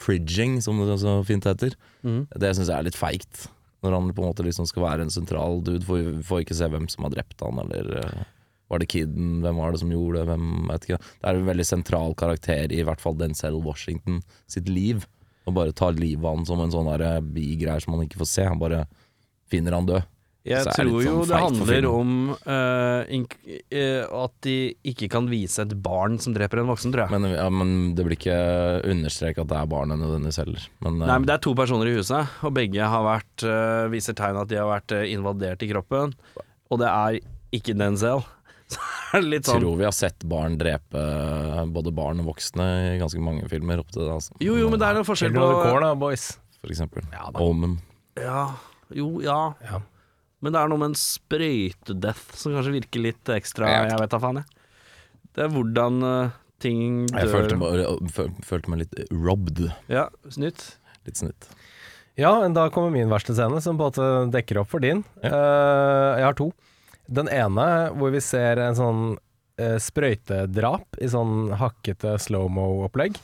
S3: fridging som det så fint heter,
S1: Mhm.
S3: det syns jeg er litt feigt. Når han på en måte liksom skal være en sentral dude, får vi får ikke se hvem som har drept han, eller eh, var det kiden, hvem var det som gjorde det, hvem vet ikke. Det er en veldig sentral karakter i i hvert fall Denzel Washington sitt liv. Og bare tar livet av han som en sånn der bigreier som han ikke får se. Han bare finner han død.
S1: Jeg
S3: Så er det
S1: tror
S3: litt
S1: jo
S3: sånn
S1: det
S3: feigt for
S1: handler
S3: filmen.
S1: om eh, ink- eh, at de ikke kan vise et barn som dreper en voksen, tror jeg.
S3: Men, ja, men det blir ikke understreket at det er barnet nødvendigvis heller. Men, eh,
S1: Nei, men Det er to personer i huset, og begge har vært, eh, viser tegn at de har vært eh, invadert i kroppen. Og det er ikke Denzel. Så er det litt sånn
S3: Tror vi har sett barn drepe eh, både barn og voksne i ganske mange filmer opp til det, altså.
S1: Jo, jo, men det er en forskjell
S4: Children
S1: på
S4: of the Corn, da, boys.
S3: For eksempel.
S4: Ja da.
S3: Omen.
S1: ja, Jo, ja.
S4: Ja.
S1: Men det er noe med en sprøytedeath som kanskje virker litt ekstra
S3: Jeg vet
S1: Jeg vet da faen, jeg. Det er hvordan eh, ting dør
S3: Jeg følte, bare- fø- følte meg litt robbed.
S1: Ja, snytt.
S3: Litt snytt.
S4: Ja, men da kommer min verste scene, som på en måte dekker opp for din. Eh, jeg har to. Den ene hvor vi ser en sånn eh, sprøytedrap i sånn hakkete slow-mo-opplegg.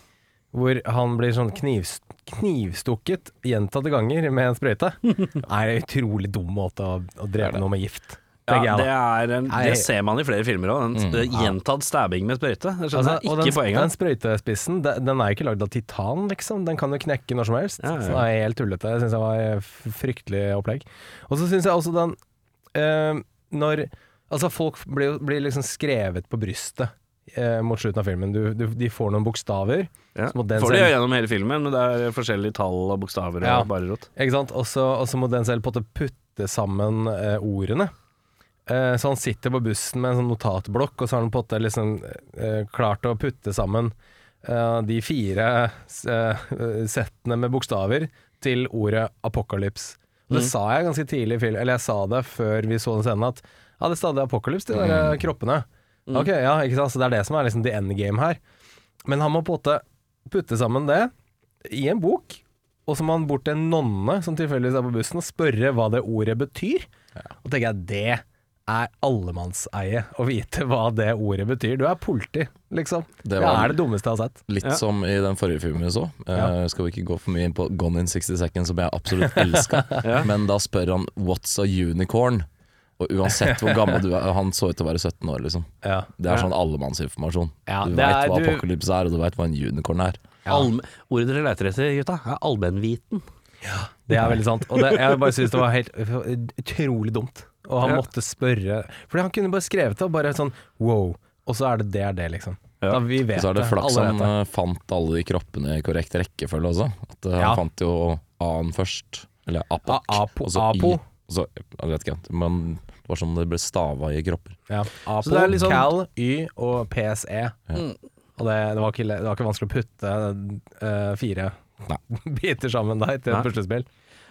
S4: hvor han blir sånn knivs knivstukket gjentatte ganger med en sprøyte, er en utrolig dum måte å, å dreve noe med gift.
S1: Ja,
S4: tenker jeg da.
S1: det, er en,
S4: Nei.
S1: det ser man i flere filmer òg, den eh, gjentatt stabbing med sprøyte. Jeg skjønner
S4: Altså, og
S1: ikke
S4: den, den
S1: poenget.
S4: sprøytespissen de- den er jo ikke lagd av titan, liksom. Den kan jo knekke når som helst.
S1: Ja, ja, ja.
S4: Så det er helt tullete. Det syns jeg var eh, f- fryktelig opplegg. Og så syns jeg også den eh, Når Altså, folk blir, jo- blir liksom skrevet på brystet eh, mot slutten av filmen. Du, du, de får noen bokstaver.
S1: Ja.
S4: så må den
S1: Får de
S4: selv-
S1: gjennom hele filmen, men det er forskjellige tall og bokstaver og
S4: Ja.
S1: bare rot.
S4: Ikke sant? Og så og så må den selv på en måte putte sammen eh, ordene. Eh, så han sitter på bussen med en sånn notatblokk, og så har han på en måte liksom eh, klart å putte sammen eh, de fire eh, settene med bokstaver til ordet apokalyps. Og det sa jeg ganske tidlig i film, eller jeg sa det før vi så den scenen, at ja, det er stadig apokalyps, de der eh, kroppene. Ok, ja, ikke sant? Så det er det som er liksom the end game her. Men han må på en måte putte sammen det i en bok, og så må han bort til en nonne som tilfeldigvis er på bussen, og spørre hva det ordet betyr. Og tenker jeg, det er allemannseie å vite hva det ordet betyr. Du er politi, liksom. Det,
S3: Det var-
S4: er det dummeste jeg har sett.
S3: Litt
S1: Ja.
S3: som i den forrige filmen vi så. Eh, skal vi ikke gå for mye inn på Gone in 60 Seconds, som jeg absolutt elska. Men da spør han 'What's a unicorn?' Og uansett hvor gammel du er, han så ut til å være 17 år, liksom.
S4: Ja.
S3: Det er sånn allemannsinformasjon.
S4: Ja,
S3: du
S4: det
S3: veit
S4: er-
S3: hva
S4: du-
S3: apokalypse er, og du veit hva en unicorn er.
S1: Allm- Ordet dere leter etter, gutta, er allmennviten.
S4: Det er veldig sant. Og det, jeg bare synes det var helt utrolig dumt. Og han
S1: Ja.
S4: måtte spørre Fordi han kunne bare skrevet det, og bare sånn wow. Og så er det det er det, liksom. Da vi vet
S3: Og så er det flaks
S4: alle
S3: han
S4: vet det.
S3: eh, fant alle de kroppene i korrekt rekkefølge også. At eh,
S4: Ja.
S3: Han fant jo A-en først, eller Apak.
S4: A- apo-
S3: og så
S4: apo.
S3: I, og så, jeg vet ikke, men det var sånn det ble stava i kropper.
S4: Ja. Apo,
S1: Så det er litt sånn-
S4: Cal, Y og PSE. Og det, det, var ikke, le- det var ikke vanskelig å putte eh, fire biter sammen der til
S1: Nei.
S4: et puslespill.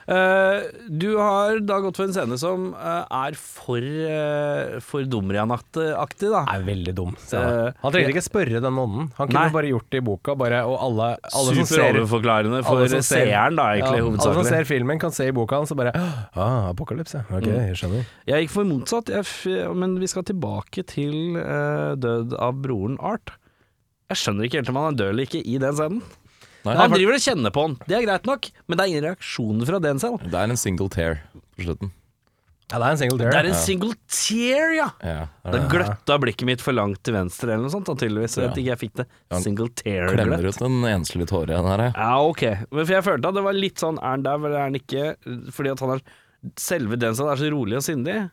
S1: Eh, du har da gått for en scene som eh, er for, uh, for Dumrian-aktig, da.
S4: er veldig dum.
S1: Så-
S4: han trengte ikke spørre den nonnen. Han kunne
S1: Nei.
S4: bare gjort det i boka, bare, og alle, alle
S1: Super
S4: som ser
S1: overforklarende for
S4: alle som ser-
S1: seeren, da, egentlig,
S4: Ja, alle som
S1: hovedsakelig.
S4: ser filmen, kan se i boka hans og bare ah, Apokalypse. Ok,
S1: Mm.
S4: jeg skjønner.
S1: Jeg gikk for motsatt, jeg f men vi skal tilbake til eh, død av broren Art. Jeg skjønner ikke helt om han er død eller ikke i den scenen.
S3: Nei,
S1: Han driver og kjenner på han, det er greit nok, men det er ingen reaksjoner fra den selv.
S3: Det er en single tear på slutten.
S4: Ja, det er en single
S1: Det
S4: tear.
S1: er en single tear, ja!
S3: Ja,
S1: Da gløtta blikket mitt for langt til venstre eller noe sånt, da, tydeligvis. Jeg vet ikke, jeg fikk det. Single tear-gløtt.
S3: Klemmer ut en enslig tåre, den her. jeg.
S1: Ja, ok. Men for jeg følte at det var litt sånn Er han der, eller er han ikke? Fordi at han er Selve Denzel er så rolig og sindig.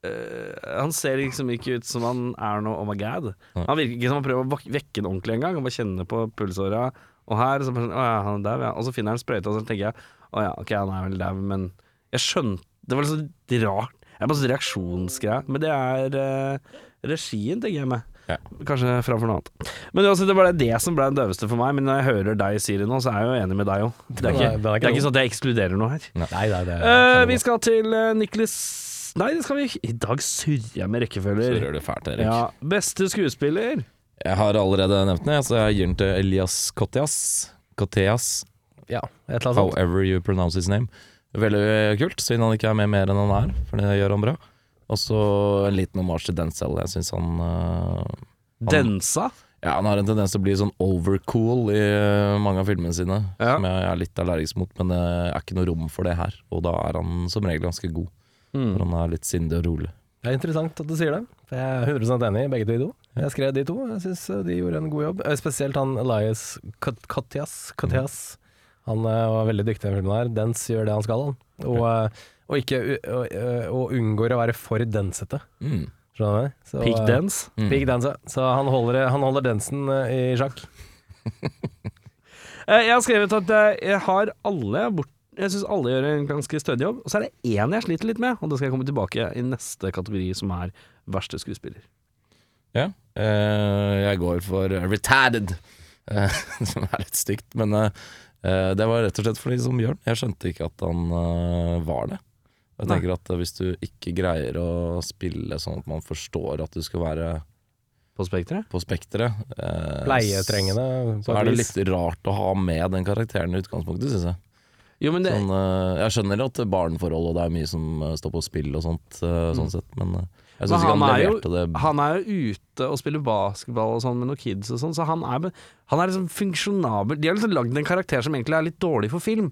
S1: Eh, han ser liksom ikke ut som han er noe Oh my god.
S3: Nei.
S1: Han virker ikke som han prøver å vak- vekke den ordentlig engang. Han bare kjenner på pulsåra. Og her, så bare sånn, å ja, han er der, ja. Og så finner han sprøyta, og så tenker jeg å ja, ok, han er vel dau, men Jeg skjønte Det var liksom litt rart. Det er bare sånn reaksjonsgreie. Men det er eh, regien, tenker jeg meg.
S3: Ja.
S1: Kanskje framfor noe annet. Men uansett, det var det- det som ble den døveste for meg. Men når jeg hører deg si det nå, så er jeg jo enig med deg òg. Det, er
S4: Den er-
S1: ikke-
S4: den er ikke
S1: det er ikke
S4: dum.
S1: sånn at jeg ekskluderer noe her.
S4: Nei, nei, det
S1: Eh,
S4: er
S1: vi skal til eh, Nicholas Nei, det skal vi ikke. I dag surrer jeg med
S3: Så
S1: rekkefølger.
S3: gjør det fælt, Erik.
S1: Ja, beste skuespiller.
S3: Jeg har allerede nevnt den, jeg, så jeg gir den til Elias Koteas. Koteas,
S4: ja, et eller annet sånt.
S3: however you pronounce his name. Veldig eh, kult, siden han ikke er med mer enn han er, for det gjør han bra. Og så en liten omasj til Denzel. Jeg syns han øh,
S1: Densa.
S3: Ja, han har en tendens til å bli sånn overcool i øh, mange av filmene sine,
S1: Ja.
S3: som jeg er litt allergisk mot, men det er ikke noe rom for det her. Og da er han som regel ganske god, for han er litt sindig og rolig.
S4: Det er interessant at du sier det. For Jeg er 100 enig i begge de to. Jeg skrev de to. Jeg syns de gjorde en god jobb. Eh, Spesielt han Elias Kat- Katias. Katias.
S1: Mm.
S4: Han eh, var veldig dyktig i den filmen her. Dens gjør det han skal, han. Og, eh, og, ikke, u- og, eh, og unngår å være for densete.
S3: Mm.
S4: Skjønner du? Så,
S1: Peak Mm.
S4: eh,
S1: dance.
S4: Pig dance, ja. Så han holder, han holder dansen eh, i sjakk.
S1: Eh, jeg har skrevet at jeg, jeg har alle bort jeg syns alle gjør en ganske stødig jobb. Og så er det én jeg sliter litt med, og det skal jeg komme tilbake i neste kategori, som er verste skuespiller.
S3: Ja. eh, jeg går for retarded, eh, som er litt stygt. Men eh, eh, det var rett og slett fordi som Bjørn, jeg skjønte ikke at han eh, var det. Jeg
S1: Nei.
S3: tenker at eh, Hvis du ikke greier å spille sånn at man forstår at du skal være
S1: På Spekteret?
S3: på spekteret eh,
S4: Pleietrengende.
S3: Så er det litt rart å ha med den karakteren i utgangspunktet, syns jeg.
S1: Jo, men det,
S3: Sånn, eh, jeg skjønner at barneforhold og det er mye som eh, står på spill og sånt, eh, sånn sett, men eh, jeg
S1: Mm. Men
S3: syns ikke han
S1: er
S3: leverte det
S1: jo, han er jo ute og spiller basketball og sånn med noen kids og sånn, så han er, han er liksom funksjonabel. De har liksom lagd en karakter som egentlig er litt dårlig for film.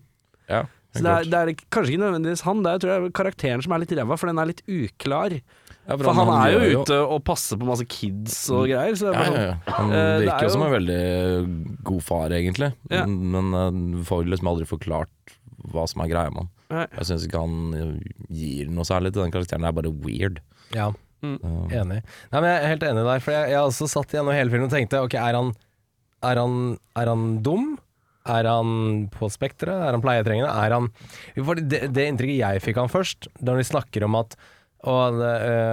S3: ja,
S1: Så det er, det er ikke- kanskje ikke nødvendigvis han, det er tror jeg, karakteren som er litt ræva, for den er litt uklar.
S3: Ja,
S1: For han, er
S3: gjør
S1: jo ute og passer på masse kids og greier. Så det
S3: Ja,
S1: er
S3: ja,
S1: bare
S3: ja.
S1: sånn, Eh,
S3: Han
S1: det er
S3: virker jo som
S1: jo-
S3: en veldig god far, egentlig.
S1: Ja.
S3: Men eh, får liksom aldri forklart hva som er greia med han.
S1: Nei.
S3: Jeg syns ikke han eh, gir noe særlig til den karakteren. Det er bare weird.
S4: Ja,
S1: Mm.
S4: enig. Nei, men Jeg er helt enig der, for jeg, jeg har også satt igjen og hele filmen og tenkte Ok, er han, er han, er han dum? Er han på spekteret? Er han pleietrengende? Er han For det, det inntrykket jeg fikk han først, da vi snakker om at og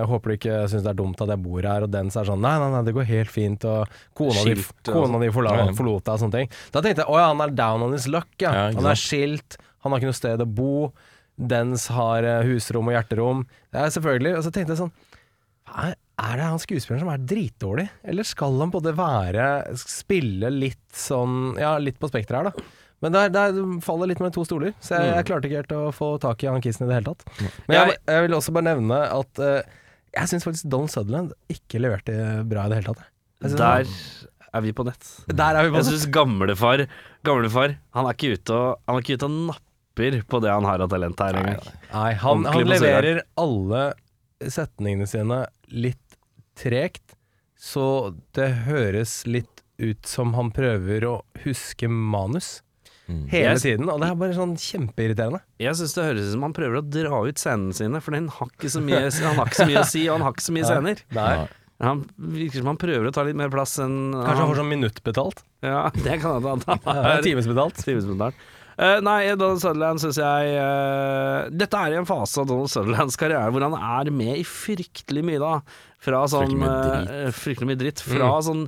S4: håper du ikke syns det er dumt at jeg bor her, og den så er sånn Nei, nei, nei, det går helt fint, og kona di,
S1: Skilt, altså. ja.
S4: kona di forla, forlot deg, og sånne ting. Da tenkte jeg å ja, han er down on his luck, ja.
S3: Ja, ikke
S4: han er skilt, han har ikke noe sted å bo. Dens har eh, husrom og hjerterom. Ja, selvfølgelig. Og så tenkte jeg sånn er, er det han skuespilleren som er dritdårlig, eller skal han både være Spille litt sånn Ja, litt på spekteret her, da. Men der, der faller litt mellom to stoler, så jeg, jeg klarte ikke helt å få tak i han kissen i det hele tatt. Men jeg, jeg vil også bare nevne at eh, jeg syns faktisk Donald Sutherland ikke leverte bra i det hele tatt. Jeg synes
S1: Der
S4: han-
S1: sånn, altså, er vi på nett.
S4: der er vi på
S1: Jeg syns gamlefar Gamlefar, han er ikke ute og Han er ikke ute og napper på det han har av talent her engang.
S4: Nei, han, han
S1: Ordentlig på
S4: leverer alle setningene sine litt tregt, så det høres litt ut som han prøver å huske manus hele
S1: Jeg-
S4: tiden, og det er bare sånn kjempeirriterende.
S1: Jeg syns det høres ut som han prøver å dra ut scenene sine, for den har ikke så mye, han har ikke så mye å si, og han har ikke så mye scener.
S3: Nei.
S1: Han virker som han prøver å ta litt mer plass enn
S4: Kanskje han får sånn minuttbetalt?
S1: Ja, det kan hende
S4: Ja,
S1: han er
S4: Timesbetalt?
S1: timesbetalt. Eh, nei, Donald Sutherland syns jeg eh, Dette er i en fase av Donald Sutherlands karriere hvor han er med i fryktelig mye, da. Fra sånn
S3: Fryktelig mye
S1: eh, fryktelig mye dritt. Fra sånn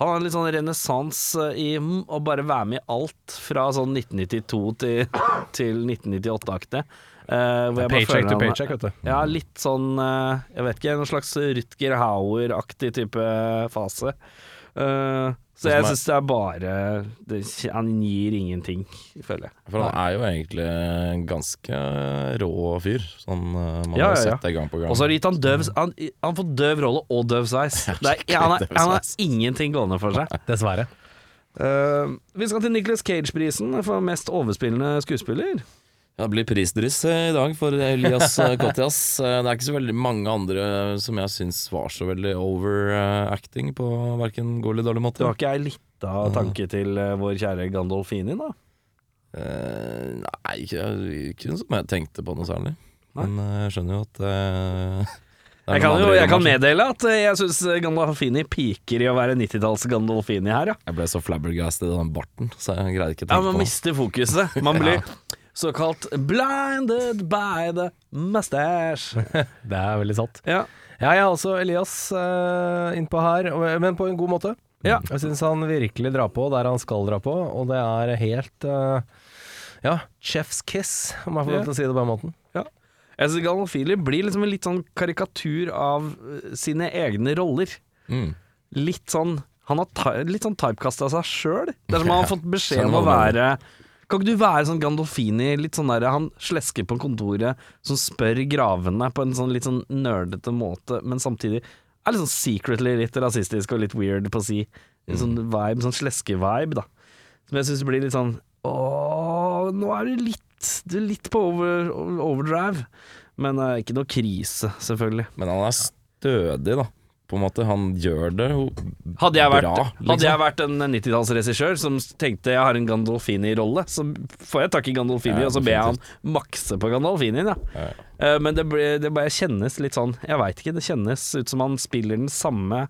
S1: Han har en litt sånn renessanse i mm, å bare være med i alt fra sånn 1992 til, til 1998-aktig. Eh, hvor jeg bare føler
S4: Paycheck to
S1: han er-
S4: paycheck, vet du.
S1: ja, litt sånn eh, Jeg vet ikke, en slags Rutger Hauer-aktig type fase. Eh, så
S3: Det
S1: jeg
S3: som er-
S1: syns det er bare det, Han gir ingenting, føler jeg.
S3: For han er jo egentlig en ganske rå fyr. Sånn, eh, man
S1: Ja, ja,
S3: har
S1: ja.
S3: jo sett det gang på gang.
S1: Og så har de gitt han døv Han, han får døv rolle og døv sveis. Det er, han, er, han har ingenting gående for seg.
S4: Dessverre.
S1: Eh, vi skal til Nicholas Cage-prisen for mest overspillende skuespiller.
S3: Ja, det blir prisdryss eh, i dag for Elias eh, Kotias. Eh, Det er ikke så veldig mange andre eh, som jeg syns var så veldig overacting på verken god eller dårlig
S1: Du
S3: måte.
S1: har ikke ei lita
S3: Mm.
S1: tanke til eh, vår kjære Gandolfini, da?
S3: Eh, nei, ikke, ikke noe som jeg tenkte på noe særlig. Men eh, jeg skjønner jo at eh, det er
S1: Jeg
S3: noen
S1: kan, jo,
S3: andre
S1: jeg kan
S3: romanser.
S1: meddele at eh, jeg syns Gandolfini piker i å være 90-talls Gandolfini her, ja.
S3: Jeg ble så flabbergasted av den barten, så jeg greide ikke å
S1: Ja,
S3: tenke
S1: man
S3: på det.
S1: mister fokuset. Man blir såkalt blinded by the mustache.
S4: Det er veldig sant.
S1: Ja.
S4: Ja, jeg har også Elias eh, innpå her, og- men på en god måte.
S1: Ja.
S4: Jeg syns han virkelig drar på der han skal dra på, og det er helt eh, Ja, chef's kiss, om jeg får lov til å si det på den måten.
S1: Jeg synes Galofili blir liksom en litt sånn karikatur av eh, sine egne roller.
S3: Mm.
S1: Litt sånn Han har ty litt sånn typekasta seg sjøl. Det er som om han har fått beskjed
S3: Skjønner
S1: om å
S3: hva du
S1: være kan ikke du være sånn Gandolfini, litt sånn der, han slesker på kontoret, som spør gravene på en sånn litt sånn nerdete måte, men samtidig er litt sånn secretly litt rasistisk og litt weird på å si. En sånn vibe, sånn sleske-vibe, da. Som jeg syns blir litt sånn Åh, nå er du litt, du er litt på over, overdrive. Men eh, ikke noe krise, selvfølgelig.
S3: Men han er stødig, da. På en måte. Han gjør det jo
S1: Hadde jeg vært,
S3: bra,
S1: hadde jeg vært en 90-tallsregissør som tenkte jeg har en Gandolfini-rolle, så får jeg tak i Gandolfini,
S3: Ja,
S1: og så ber jeg han makse på Gandolfinien. Ja. Eh, Men det, ble, det bare kjennes litt sånn Jeg veit ikke, det kjennes ut som han spiller den samme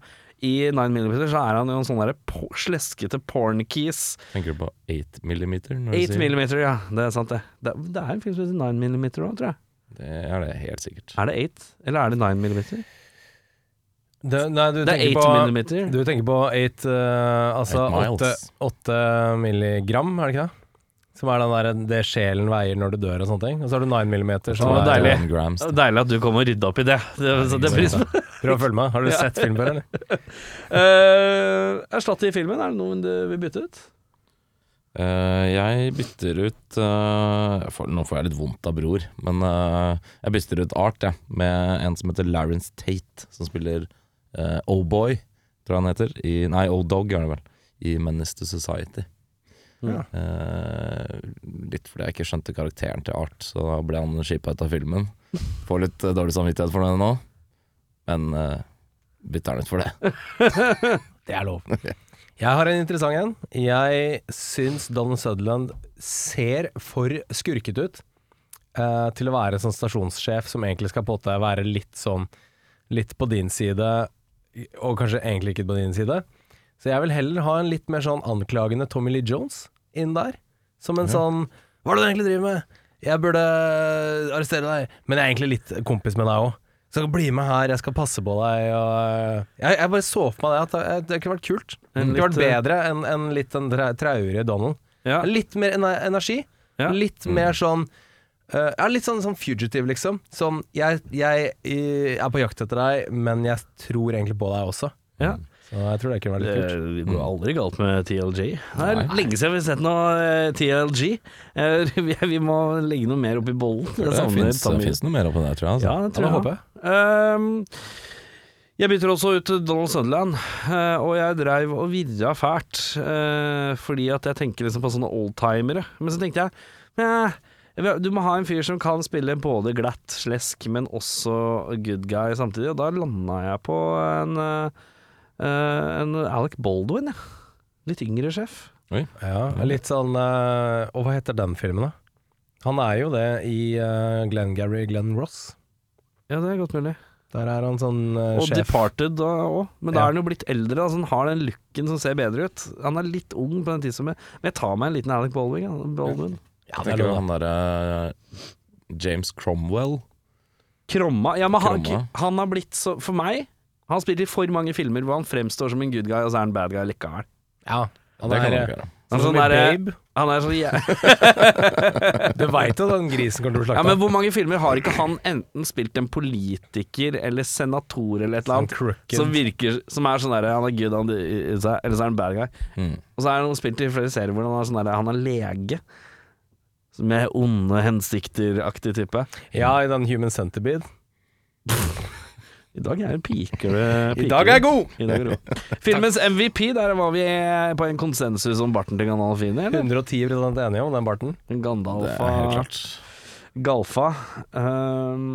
S1: i 9 mm, så er han jo en sånn derre po- sleskete pornkeys.
S3: Tenker du på 8 millimeter?
S1: 8 mm, ja. Det er sant, det. Det, er- det er en film som heter 9 mm òg, tror jeg.
S3: Det er det helt sikkert.
S1: Er det 8, eller er det 9 mm?
S4: Det, nei, du,
S1: Det er 8
S4: tenker på,
S1: mm.
S4: du tenker på 8 Altså
S3: Eight miles.
S4: 8, milligram, er det ikke det? Som er den der, det sjelen veier når du dør og sånne ting. Og så har du 9 millimeter. Som
S1: Å,
S4: er,
S1: deilig.
S3: One grams, da.
S1: Deilig at du kom og rydda opp i det. det, så det pris,
S4: Prøv å følge med. Har du sett film før, eller?
S1: Eh, Erstatt i filmen, er det noen du vil bytte ut?
S3: Eh, jeg bytter ut eh, jeg får, Nå får jeg litt vondt av bror, men eh, jeg bytter ut Art jeg, med en som heter Lawrence Tate, som spiller eh, O-Boy, tror jeg han heter. I, nei, O-Dog er det vel. I Menace to Society.
S1: Ja.
S3: Eh, litt fordi jeg ikke skjønte karakteren til Art, så da ble han skipa ut av filmen. Får litt eh, dårlig samvittighet for det nå, men eh, bytter han ut for det.
S4: Det er lov. Jeg har en interessant en. Jeg syns Donald Sutherland ser for skurket ut eh, til å være sånn stasjonssjef som egentlig skal på en måte være litt sånn Litt på din side, og kanskje egentlig ikke på din side. Så jeg vil heller ha en litt mer sånn anklagende Tommy Lee Jones inn der. Som en sånn Hva er det du egentlig driver med? Jeg burde arrestere deg, men jeg er egentlig litt kompis med deg òg. Så bli med her, jeg skal passe på deg. Og eh, jeg, jeg bare så for meg det. At det, det kunne vært kult. Det
S1: En
S4: kunne vært
S1: litt, eh,
S4: bedre enn en litt en tra- traurig Donald.
S1: Ja.
S4: Litt mer ener energi.
S1: Ja. Mm.
S4: Litt mer sånn eh, ja, Litt sånn, sånn fugitive, liksom. Sånn jeg, jeg eh, er på jakt etter deg, men jeg tror egentlig på deg også.
S1: Ja.
S4: Så jeg tror det kunne vært
S1: Eh, Det
S4: litt kult.
S1: går aldri galt med TLG. Det er lenge siden vi har sett noe eh, TLG. Eh, Vi, vi må legge noe mer opp i bollen. Jeg
S3: Det
S1: savner Tamir.
S3: fins noe mer oppi der, tror jeg. Altså.
S1: Ja, det tror jeg.
S4: håper jeg.
S1: Ehm, jeg bytter også ut Donald Sutherland, eh, og jeg dreiv og virra fælt. eh, fordi at jeg tenker liksom på sånne oldtimere. Men så tenkte jeg eh, du må ha en fyr som kan spille både glatt slesk, men også good guy samtidig. Og da landa jeg på en, eh, eh, en Alec Baldwin, jeg. Litt yngre sjef.
S3: Oi.
S4: Ja, litt sånn eh, Og hva heter den filmen, da? Han er jo det i eh, Glengarry Glenn Ross.
S1: Ja, det er godt mulig.
S4: Der er han sånn eh,
S1: Og
S4: sjef.
S1: Departed òg, men da
S4: Ja.
S1: er han jo blitt eldre. Altså han har den looken som ser bedre ut. Han er litt ung på den tidspunktet, men jeg tar meg en liten Alec Baldwin. ja, Baldwin.
S4: Ja, det er
S3: Tenker du
S4: lov,
S3: han derre James Cromwell?
S1: Kromma Ja, men han,
S3: Kromma.
S1: han har blitt så For meg han spiller i for mange filmer hvor han fremstår som en good guy, og så er han bad guy likevel.
S4: ja. Han
S3: Det
S4: er,
S3: kan han
S4: eh,
S3: ikke gjøre.
S1: Han er
S4: Sånn
S1: sånn
S4: i
S1: derre-
S4: Babe.
S1: Han er sånn jæ-
S4: Du veit jo at den grisen kommer til å
S1: Ja,
S4: slakte
S1: men hvor mange filmer har ikke han enten spilt en politiker eller senator eller et eller
S4: Sånn
S1: annet
S4: crooked.
S1: som virker Som er sånn derre Han er good, han, eller så er han bad guy.
S4: Mm.
S1: Og så er han spilt i flere serier hvor han er sånn derre Han er lege. Med onde hensikter-aktig type.
S4: Ja, i den Human Centipede.
S1: I dag er piker det
S4: I dag er jeg god!
S1: I dag er det god. Filmens MVP, der var vi eh, på en konsensus om barten til Gandalfini, eller?
S4: 110 enige om den barten.
S1: Gandalfa.
S3: Det er helt klart.
S1: Galfa. Ehm,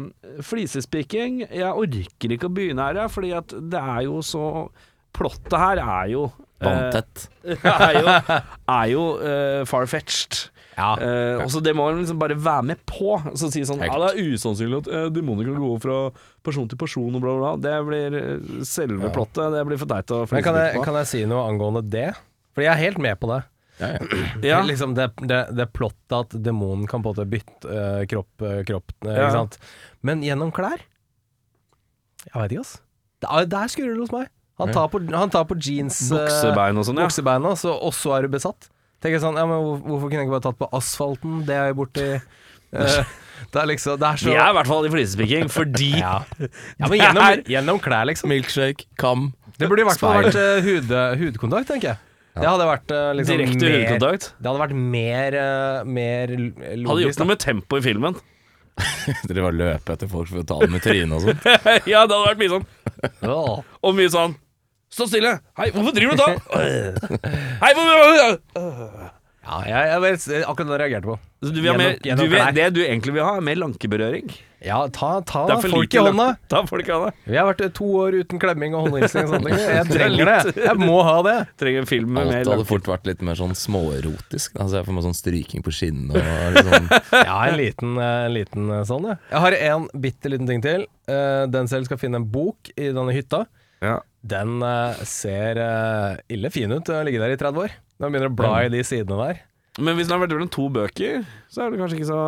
S1: flisespiking. Jeg orker ikke å begynne her, jeg, fordi at det er jo så Plottet her er jo eh,
S3: Vanntett.
S1: er jo, er jo eh, far-fetched.
S4: Ja.
S1: Eh, og så Det må man liksom bare være med på. Så si sånn
S3: Helt.
S1: ja, Det er usannsynlig at eh, demoner kan gå fra person til person og bla, bla, bla. Det blir eh, selve plottet. Det blir for teit å
S4: Men kan jeg,
S1: flisespike på.
S4: kan jeg si noe angående det? For jeg er helt med på det.
S3: Ja, ja.
S1: Ja.
S4: Liksom det, det, det plottet at demonen kan på en måte bytte eh, kropp, eh, kropp eh,
S1: Ja.
S4: ikke sant? Men gjennom klær? Jeg veit ikke, ass. Der, der skurrer det hos meg. Han tar på, han tar på jeans eh,
S1: Buksebein og sånn, ja.
S4: buksebeina, så, og så er du besatt. Tenker jeg sånn, ja, men hvor- Hvorfor kunne jeg ikke bare tatt på asfalten? Det er jo borti eh, Det er liksom Det er så
S1: Vi er i hvert fall i flisespiking fordi
S4: ja. ja, men gjennom,
S1: Det
S4: gjennom klær, liksom.
S3: Milkshake, kam.
S4: Det burde i hvert fall
S3: Speil.
S4: vært eh, hud, hudkontakt, tenker jeg. Det hadde vært eh, liksom
S1: direkte
S4: mer-
S1: hudkontakt
S4: Det hadde vært mer, eh, mer l- logisk.
S1: hadde gjort
S4: da.
S1: noe med tempoet i filmen.
S3: Dere bare løpe etter folk for å ta dem i trynet og sånt.
S1: ja, det hadde vært mye sånn
S4: Ja.
S1: Og mye sånn Stå stille! Hei, hvorfor driver du da? Hei, hvorfor
S4: Ja, jeg, jeg, vet- akkurat det reagerte jeg på.
S1: du vil ha mer,
S4: Gjennom- gjennom
S1: du vil,
S4: klær.
S1: Det du egentlig vil ha, er mer lankeberøring.
S4: Ja, ta, ta
S1: Det er for
S4: folk i
S1: lite lanke-
S4: hånda.
S1: Ta folk i hånda.
S4: Vi har vært eh, to år uten klemming og håndhilsing og sånne ting. Jeg
S1: Det er
S4: trenger det.
S1: litt-
S4: Jeg må ha det.
S1: Trenger en film med
S3: Alt
S1: mer
S3: hadde
S1: lanke...
S3: fort vært litt mer sånn småerotisk. da. Altså jeg får meg sånn stryking på skinnene og litt sånn
S4: Ja, en liten, eh, en liten eh, sånn, ja. Jeg har en bitte liten ting til. Eh, Den selv skal finne en bok i denne hytta.
S1: Ja.
S4: Den eh, ser eh, ille fin ut til å ligge der i 30 år. Når man begynner å bla i de sidene der.
S1: Men hvis den har vært rundt to bøker, så er det kanskje ikke så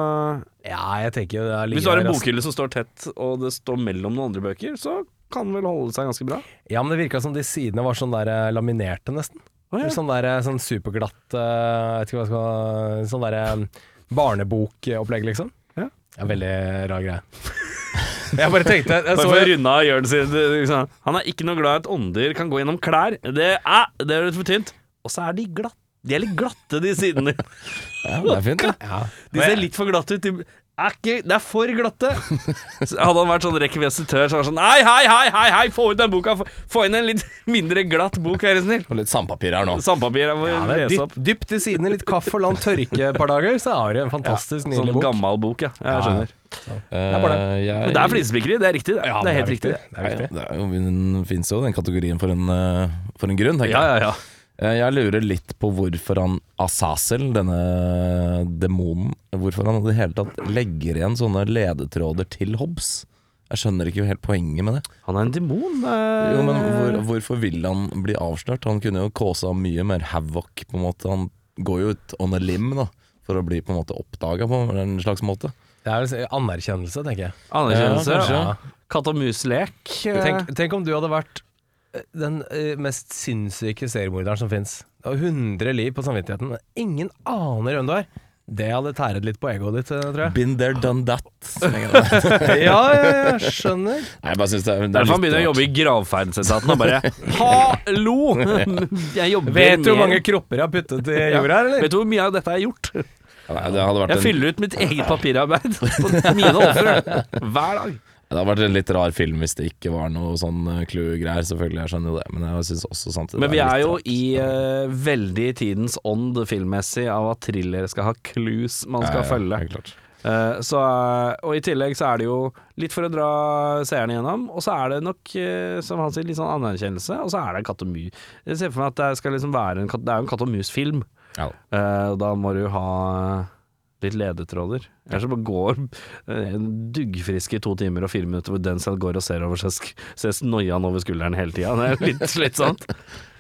S4: Ja, jeg tenker jo det er
S1: Hvis du har en
S4: ligger der, ass.
S1: bokhylle som står tett, og det står mellom noen andre bøker, så kan den vel holde seg ganske bra.
S4: Ja, men det virka som de sidene var sånn der eh, laminerte, nesten.
S1: Å, ja.
S4: Sånn der eh, sånn superglatt eh, Vet ikke hva jeg skal Sånn der eh, barnebokopplegg, liksom.
S1: Ja.
S4: Ja, veldig rar greie. Jeg bare tenkte jeg
S1: Bare
S4: så,
S1: for å runde av Jørn sin liksom. Han er ikke noe glad i at ånder kan gå gjennom klær. Det er, det er litt for tynt. Og så er de glatte. De er litt glatte, de sidene.
S3: Ja, det er fint, det.
S1: De ser litt for glatte ut. De er ikke, det er for glatte. Så hadde han vært sånn rekvisitør, så hadde han vært sånn Hei, hei, hei, hei, hei, få ut den boka! Få- Få inn en litt mindre glatt bok, vær så snill.
S3: Og litt sandpapir her nå.
S1: Sandpapir jeg må
S4: Ja, det er
S1: lese
S4: dypp,
S1: opp.
S4: dypp til sidene, litt kaffe og la den tørke et par dager, så har du en fantastisk
S1: Sånn
S4: nydelig bok.
S1: gammel bok, ja. Jeg skjønner.
S3: Eh,
S4: bare
S3: jeg-
S1: Men det er flisespikkeri, det er riktig. Det,
S4: Ja,
S1: det er helt
S4: viktig.
S1: riktig.
S4: Det er
S3: Ja,
S4: viktig.
S3: Det er jo- den fins jo, den kategorien, for en, eh, for en grunn. tenker
S1: Ja,
S3: jeg.
S1: ja, ja.
S3: Eh, Jeg lurer litt på hvorfor han Azazel, denne demonen, hvorfor han i det hele tatt legger igjen sånne ledetråder til Hobbes. Jeg skjønner ikke helt poenget med det.
S1: Han er en demon. eh,
S3: Jo, men hvor, Hvorfor vil han bli avslørt? Han kunne jo kåsa mye mer havoc, på en måte. Han går jo ut on a lim, da. For å bli på en måte oppdaga på en slags måte.
S4: Det er vel anerkjennelse, tenker jeg.
S1: Anerkjennelse.
S3: Ja, kanskje.
S1: ja. Katt og mus-lek.
S3: eh.
S4: Tenk, tenk om du hadde vært eh, den eh, mest sinnssyke seriemorderen som fins. Du har 100 liv på samvittigheten, men ingen aner hvem du er. Det hadde tæret litt på egoet ditt, eh, tror jeg.
S3: Been there, done that. som jeg kaller det.
S4: Ja, ja, ja, skjønner.
S3: Nei, jeg bare synes det, er- det er
S1: Derfor han
S3: litt
S1: begynner å
S3: rart.
S1: jobbe i gravferdsetaten og bare Hallo! Jeg jobber
S4: Vet du hvor
S1: med-
S4: mange kropper jeg har puttet i jorda her, eller?
S1: Vet du hvor mye av dette er gjort?
S3: Ja, det hadde vært
S1: Jeg
S3: en-
S1: fyller ut mitt eget papirarbeid på mine ofre hver dag.
S3: Det hadde vært en litt rar film hvis det ikke var noe sånn eh, clue-greier, selvfølgelig. Jeg skjønner jo det, men jeg synes også samtidig
S1: Men
S3: det
S1: vi er
S3: litt
S1: jo
S3: rart.
S1: i eh, veldig tidens ånd filmmessig av at thrillere skal ha clues man skal
S3: Ja, ja,
S1: følge.
S3: helt klart.
S1: Eh, så, eh, og i tillegg så er det jo litt for å dra seerne gjennom, og så er det nok, eh, som han sier, litt sånn anerkjennelse, og så er det en katt og mu. Jeg ser for meg at det skal liksom være en katt, det er jo en katt og mus-film.
S3: Ja.
S1: Eh, og da må du ha litt ledetråder. Ellers så bare går eh, en duggfrisk i to timer og fire minutter hvor Denzel går og ser over seg sk- ses noiaen over skulderen hele tida. Det er litt slitsomt.
S3: Det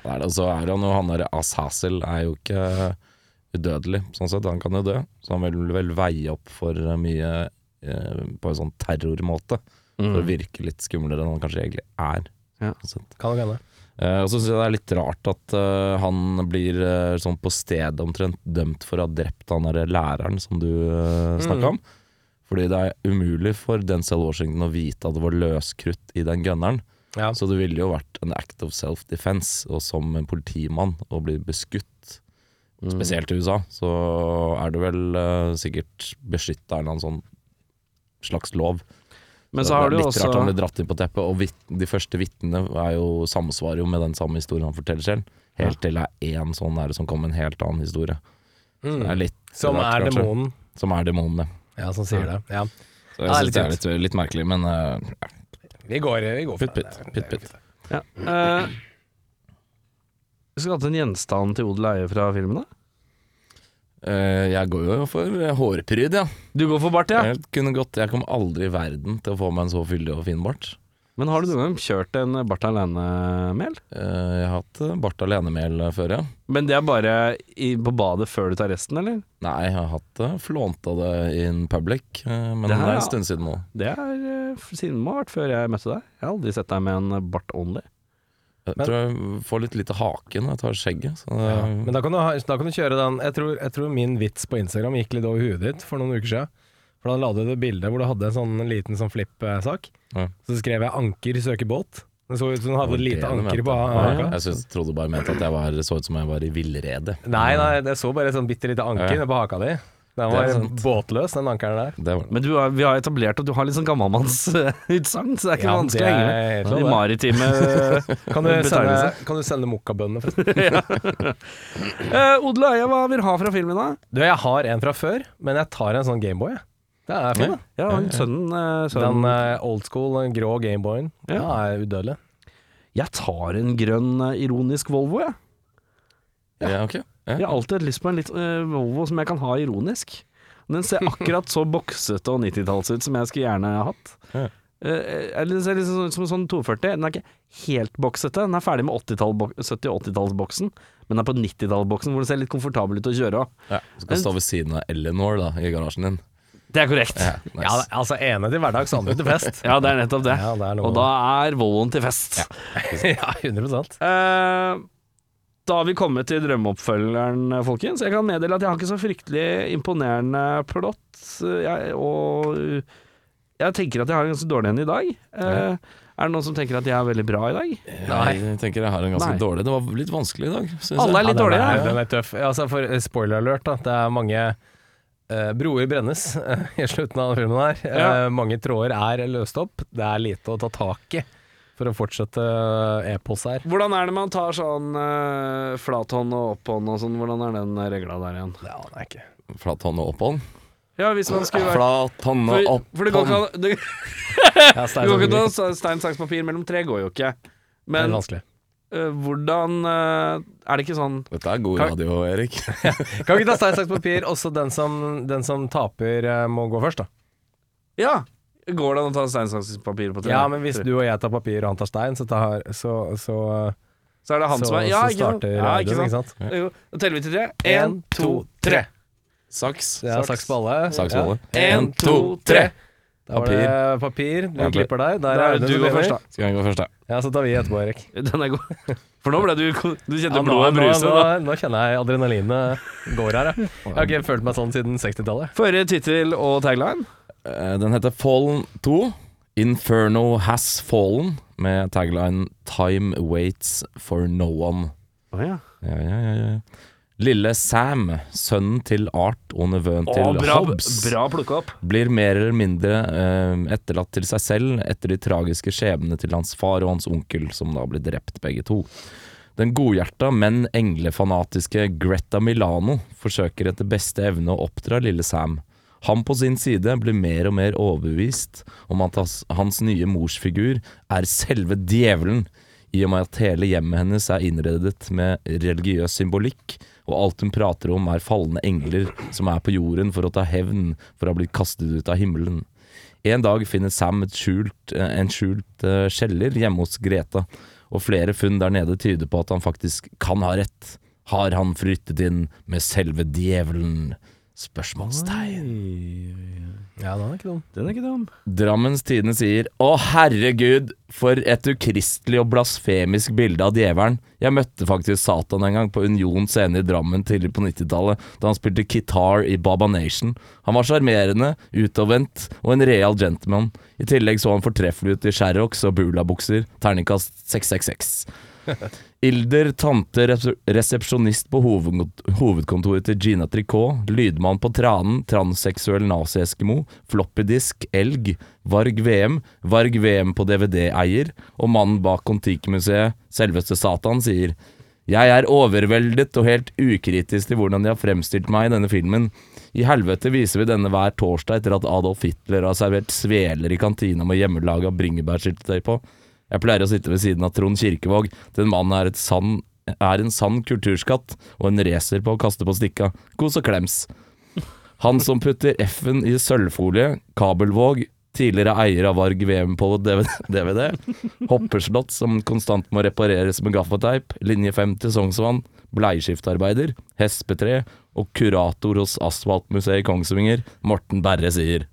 S3: er det, og så er han jo han der Ashazel er jo ikke eh, udødelig, sånn sett. Han kan jo dø, så han vil vel veie opp for eh, mye eh, på en sånn terrormåte. For å virke litt skumlere enn han kanskje egentlig er.
S1: Mm. Ja.
S3: Sånn sett.
S4: Kan nok hende.
S3: Eh, og så synes jeg det er litt rart at eh, han blir eh, sånn på stedet omtrent dømt for å ha drept han derre læreren som du uh, snakka om. Fordi det er umulig for Denzel Washington å vite at det var løskrutt i den gunneren.
S4: Ja.
S3: Så det ville jo vært en act of self-defense, og som en politimann å bli beskutt. Spesielt i USA, så er det vel eh, sikkert beskytta en eller annen sånn slags lov.
S1: Men så har
S3: det
S1: du
S3: er
S1: jo
S3: litt rart han blir
S1: også
S3: dratt inn på teppet, og vit, de første vitnene er jo- samsvarer jo med den samme historien han forteller selv. Helt til det er én sånn der som kom med en helt annen historie. Så
S1: Mm.
S3: det Sånn er litt
S4: Mm. Som
S3: rart,
S4: er
S3: kanskje.
S4: demonen.
S3: Som er demonen, ja. sånn
S4: Ja, som sier det. Ja.
S3: Så jeg
S4: Ja,
S3: synes
S4: litt
S3: det er litt, litt merkelig, men eh, ja.
S4: Vi går, vi går for
S3: Putt,
S4: det.
S3: putt, putt, putt.
S1: ja. eh, Vi skulle hatt en gjenstand til odel og eie fra filmen, da.
S3: Eh, jeg går jo for hårpryd, ja.
S1: Du går for bart, ja.
S3: Jeg kunne godt, jeg kom aldri i verden til å få meg en så fyldig og fin bart.
S1: Men har du noen gang kjørt en bart alene-mel?
S3: Eh, Jeg har hatt eh, bart alenemel før, ja.
S1: Men det er bare i, på badet før du tar resten, eller?
S3: Nei, jeg har hatt det, flånta det in public, eh, men
S1: Det
S3: det
S1: her,
S3: er
S1: ja.
S3: en stund siden nå.
S1: Det er eh, siden det må ha vært før jeg møtte deg. Jeg har aldri sett deg med en bart only.
S3: Jeg tror jeg får litt lite hake når jeg tar skjegget. Så det,
S4: Ja. Men da kan, du, ha- da kan du kjøre den jeg tror, jeg tror min vits på Instagram gikk litt over huet ditt for noen uker siden. For da la du ut et bilde hvor du hadde en sånn liten sånn flipp-sak.
S3: Ja.
S4: Så skrev jeg 'anker søker båt'. Det så ut som du hadde
S3: det
S4: lite
S3: du
S4: anker
S3: mente.
S4: på
S3: Ja,
S4: haka.
S3: Jeg synes, trodde bare mente at jeg var, så ut som jeg var i villrede.
S4: Nei, nei, jeg så bare et sånn bitte lite anker
S3: Ja.
S4: på haka di. Den
S3: Det er
S4: var
S3: sant.
S4: båtløs, den ankeren der.
S3: Det var det.
S1: Men du har, vi har etablert at du har litt sånn gammalmannsutsagn, så det er ikke
S4: Ja,
S1: noe vanskelig å henge med.
S4: det er helt
S1: De
S4: lov,
S1: maritime eh,
S4: Kan du sende,
S1: Betegnelse.
S4: kan du sende mokkabøndene, forresten?
S1: Eh, Odel og Eie, hva vil du ha fra filmen, da?
S4: Du, jeg har en fra før, men jeg tar en sånn Gameboy. jeg. Det er fin, da.
S1: Ja, han sønnen, eh,
S4: Den
S1: sønnen.
S4: eh, old school, den grå Gameboyen.
S1: Ja.
S4: Den er udødelig.
S1: Jeg tar en grønn, eh, ironisk Volvo, jeg.
S3: Ja, ok. Ja.
S1: Jeg har alltid hatt lyst på en litt, eh, Volvo som jeg kan ha ironisk. Den ser akkurat så boksete og 90-talls ut som jeg skulle gjerne hatt.
S3: Ja.
S1: Eh, eller den ser liksom sånn- som en sånn 240. Den er ikke helt boksete. Den er ferdig med 80-tall- 70- og 80-tallsboksen, men den er på 90-tallsboksen hvor den ser litt komfortabel ut å kjøre òg.
S3: Ja. Du skal stå ved siden av Eleanor da, i garasjen din.
S1: Det er korrekt.
S3: Ja, nice.
S4: Ja, altså ene til hverdags, andre til fest.
S1: Ja, det er nettopp det.
S4: Ja, det er noe.
S1: og da er Volvoen til fest.
S4: ja, 100
S1: Eh, da har vi kommet til drømmeoppfølgeren, folkens. Jeg kan meddele at jeg har ikke så fryktelig imponerende plott. Jeg, og jeg tenker at jeg har en ganske dårlig en i dag. Eh, Er det noen som tenker at jeg er veldig bra i dag?
S3: Jeg, tenker jeg har en ganske
S1: Nei.
S3: dårlig Det var litt vanskelig i dag, synes
S1: Alle er
S3: jeg.
S1: litt
S4: den
S1: dårligere,
S4: er-
S1: ja.
S4: Den er tøff. Altså, for eh, spoiler alert, da. Det er mange eh, broer brennes eh, i slutten av filmen her. Eh,
S1: Ja.
S4: mange tråder er løst opp. Det er lite å ta tak i for å fortsette eh, epos her.
S1: Hvordan er det man tar sånn eh, flathånd og opphånd og sånn? Hvordan er den regla der igjen?
S4: Det aner jeg ikke.
S3: Flat hånd og opphånd.
S1: Ja, hvis man skulle vært
S3: Flat hånd
S1: For,
S3: og
S1: for det går
S3: opphånd.
S1: ikke an det-
S4: Ja,
S1: det går ikke an å ta stein, saks, papir mellom tre, går jo ikke.
S4: sånn- det er
S1: Men
S4: vanskelig.
S1: eh, hvordan eh, Er det ikke sånn
S3: Dette er god
S4: Kan-
S3: radio, Erik.
S4: Kan vi ikke ta stein, saks, papir? Også den som, den som taper, eh, må gå først, da.
S1: Ja! Går det an å ta stein, saks, papir på tre?
S4: Ja, men hvis
S1: Tre.
S4: du og jeg tar papir og han tar stein, så tar, så, så, eh,
S1: Så er det han
S4: så,
S1: som er Ja,
S4: så
S1: ikke sant?
S4: starter
S1: Ja,
S4: radioen,
S1: ikke sant?
S3: Ja.
S1: Jo, Da teller vi til tre. Én, to, tre.
S3: Saks.
S4: Det er saks på alle.
S3: Saks
S4: Ja.
S3: på alle.
S1: Én, to, tre.
S4: Da var
S3: Papir.
S4: det papir. Du
S3: Ja, det-
S4: klipper deg. Der
S1: Da
S4: er
S1: er det
S4: Audun
S1: du
S4: som
S1: går først,
S4: leder.
S1: da.
S3: Skal jeg gå først, da?
S4: Ja, så tar vi etterpå, Erik.
S1: Den er god. For nå ble du Du kjente
S4: Ja, nå,
S1: blodet
S4: nå,
S1: bruse.
S4: nå,
S1: da.
S4: nå kjenner jeg adrenalinet går her, jeg. Jeg har ikke følt meg sånn siden 60-tallet.
S1: Forrige tittel og tagline.
S3: Eh, Den heter Fallen 2. Inferno has fallen, med tagline 'Time waits for no one'.
S1: Å ja.
S3: Ja, ja, ja, ja. Lille Sam, sønnen til Art og nevøen
S1: Å,
S3: til
S1: bra,
S3: Hobbes,
S1: bra plukka opp.
S3: blir mer eller mindre eh, etterlatt til seg selv etter de tragiske skjebnene til hans far og hans onkel, som da blir drept begge to. Den godhjerta, men englefanatiske Greta Milano forsøker etter beste evne å oppdra lille Sam. Han på sin side blir mer og mer overbevist om at hans, hans nye morsfigur er selve djevelen, i og med at hele hjemmet hennes er innredet med religiøs symbolikk, og alt hun prater om er falne engler som er på jorden for å ta hevn for å ha blitt kastet ut av himmelen. En dag finner Sam et skjult, eh, en skjult eh, kjeller hjemme hos Greta, og flere funn der nede tyder på at han faktisk kan ha rett. Har han flyttet inn med selve djevelen? Spørsmålstegn.
S4: Ja, den er ikke dum.
S1: Den er ikke dum.
S3: Drammens Tidende sier Å herregud, for et ukristelig og blasfemisk bilde av djevelen. Jeg møtte faktisk Satan en gang på Union scene i Drammen tidligere på 90-tallet, da han spilte kitar i Baba Nation. Han var sjarmerende, utadvendt og en real gentleman. I tillegg så han fortreffelig ut i sherrox og bulabukser, terningkast 666. Ilder, tante, reps- resepsjonist på hovedkont- hovedkontoret til Gina Tricot, lydmann på Tranen, transseksuell nazi-eskimo, floppydisk, elg, Varg VM, Varg VM på DVD-eier, og mannen bak Kon-Tiki-museet, selveste Satan, sier jeg er overveldet og helt ukritisk til hvordan de har fremstilt meg i denne filmen. I helvete viser vi denne hver torsdag etter at Adolf Hitler har servert sveler i kantina med hjemmelaga bringebærsyltetøy på. Jeg pleier å sitte ved siden av Trond Kirkevåg. Den mannen er, et sann, er en sann kulturskatt og en racer på å kaste på stikka. Kos og klems. Han som putter F-en i sølvfolie, Kabelvåg, tidligere eier av Varg VM på DVD, DVD hopperslott som konstant må repareres med gaffateip, linje 5 til Sognsvann, bleieskiftarbeider, hespetre og kurator hos Asfaltmuseet i Kongsvinger, Morten Berre sier.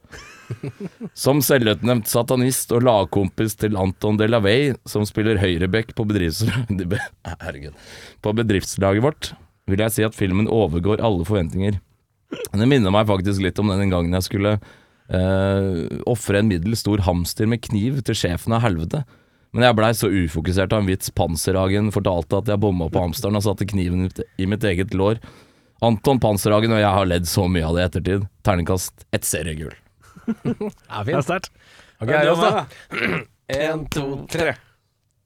S3: Som selvutnevnt satanist og lagkompis til Anton Delavey, som spiller høyreback på, bedrifts... Herregud. på bedriftslaget vårt, vil jeg si at filmen overgår alle forventninger. Det minner meg faktisk litt om den gangen jeg skulle uh, ofre en middels stor hamster med kniv til sjefen av helvete. Men jeg blei så ufokusert av en vits Panserhagen fortalte at jeg bomma på hamsteren og satte kniven i mitt eget lår. Anton Panserhagen og jeg har ledd så mye av det i ettertid. Terningkast ett seriegull.
S4: Det er fint.
S1: sterkt.
S4: Ok,
S1: Ja,
S4: er det oss, da.
S1: En, to, tre.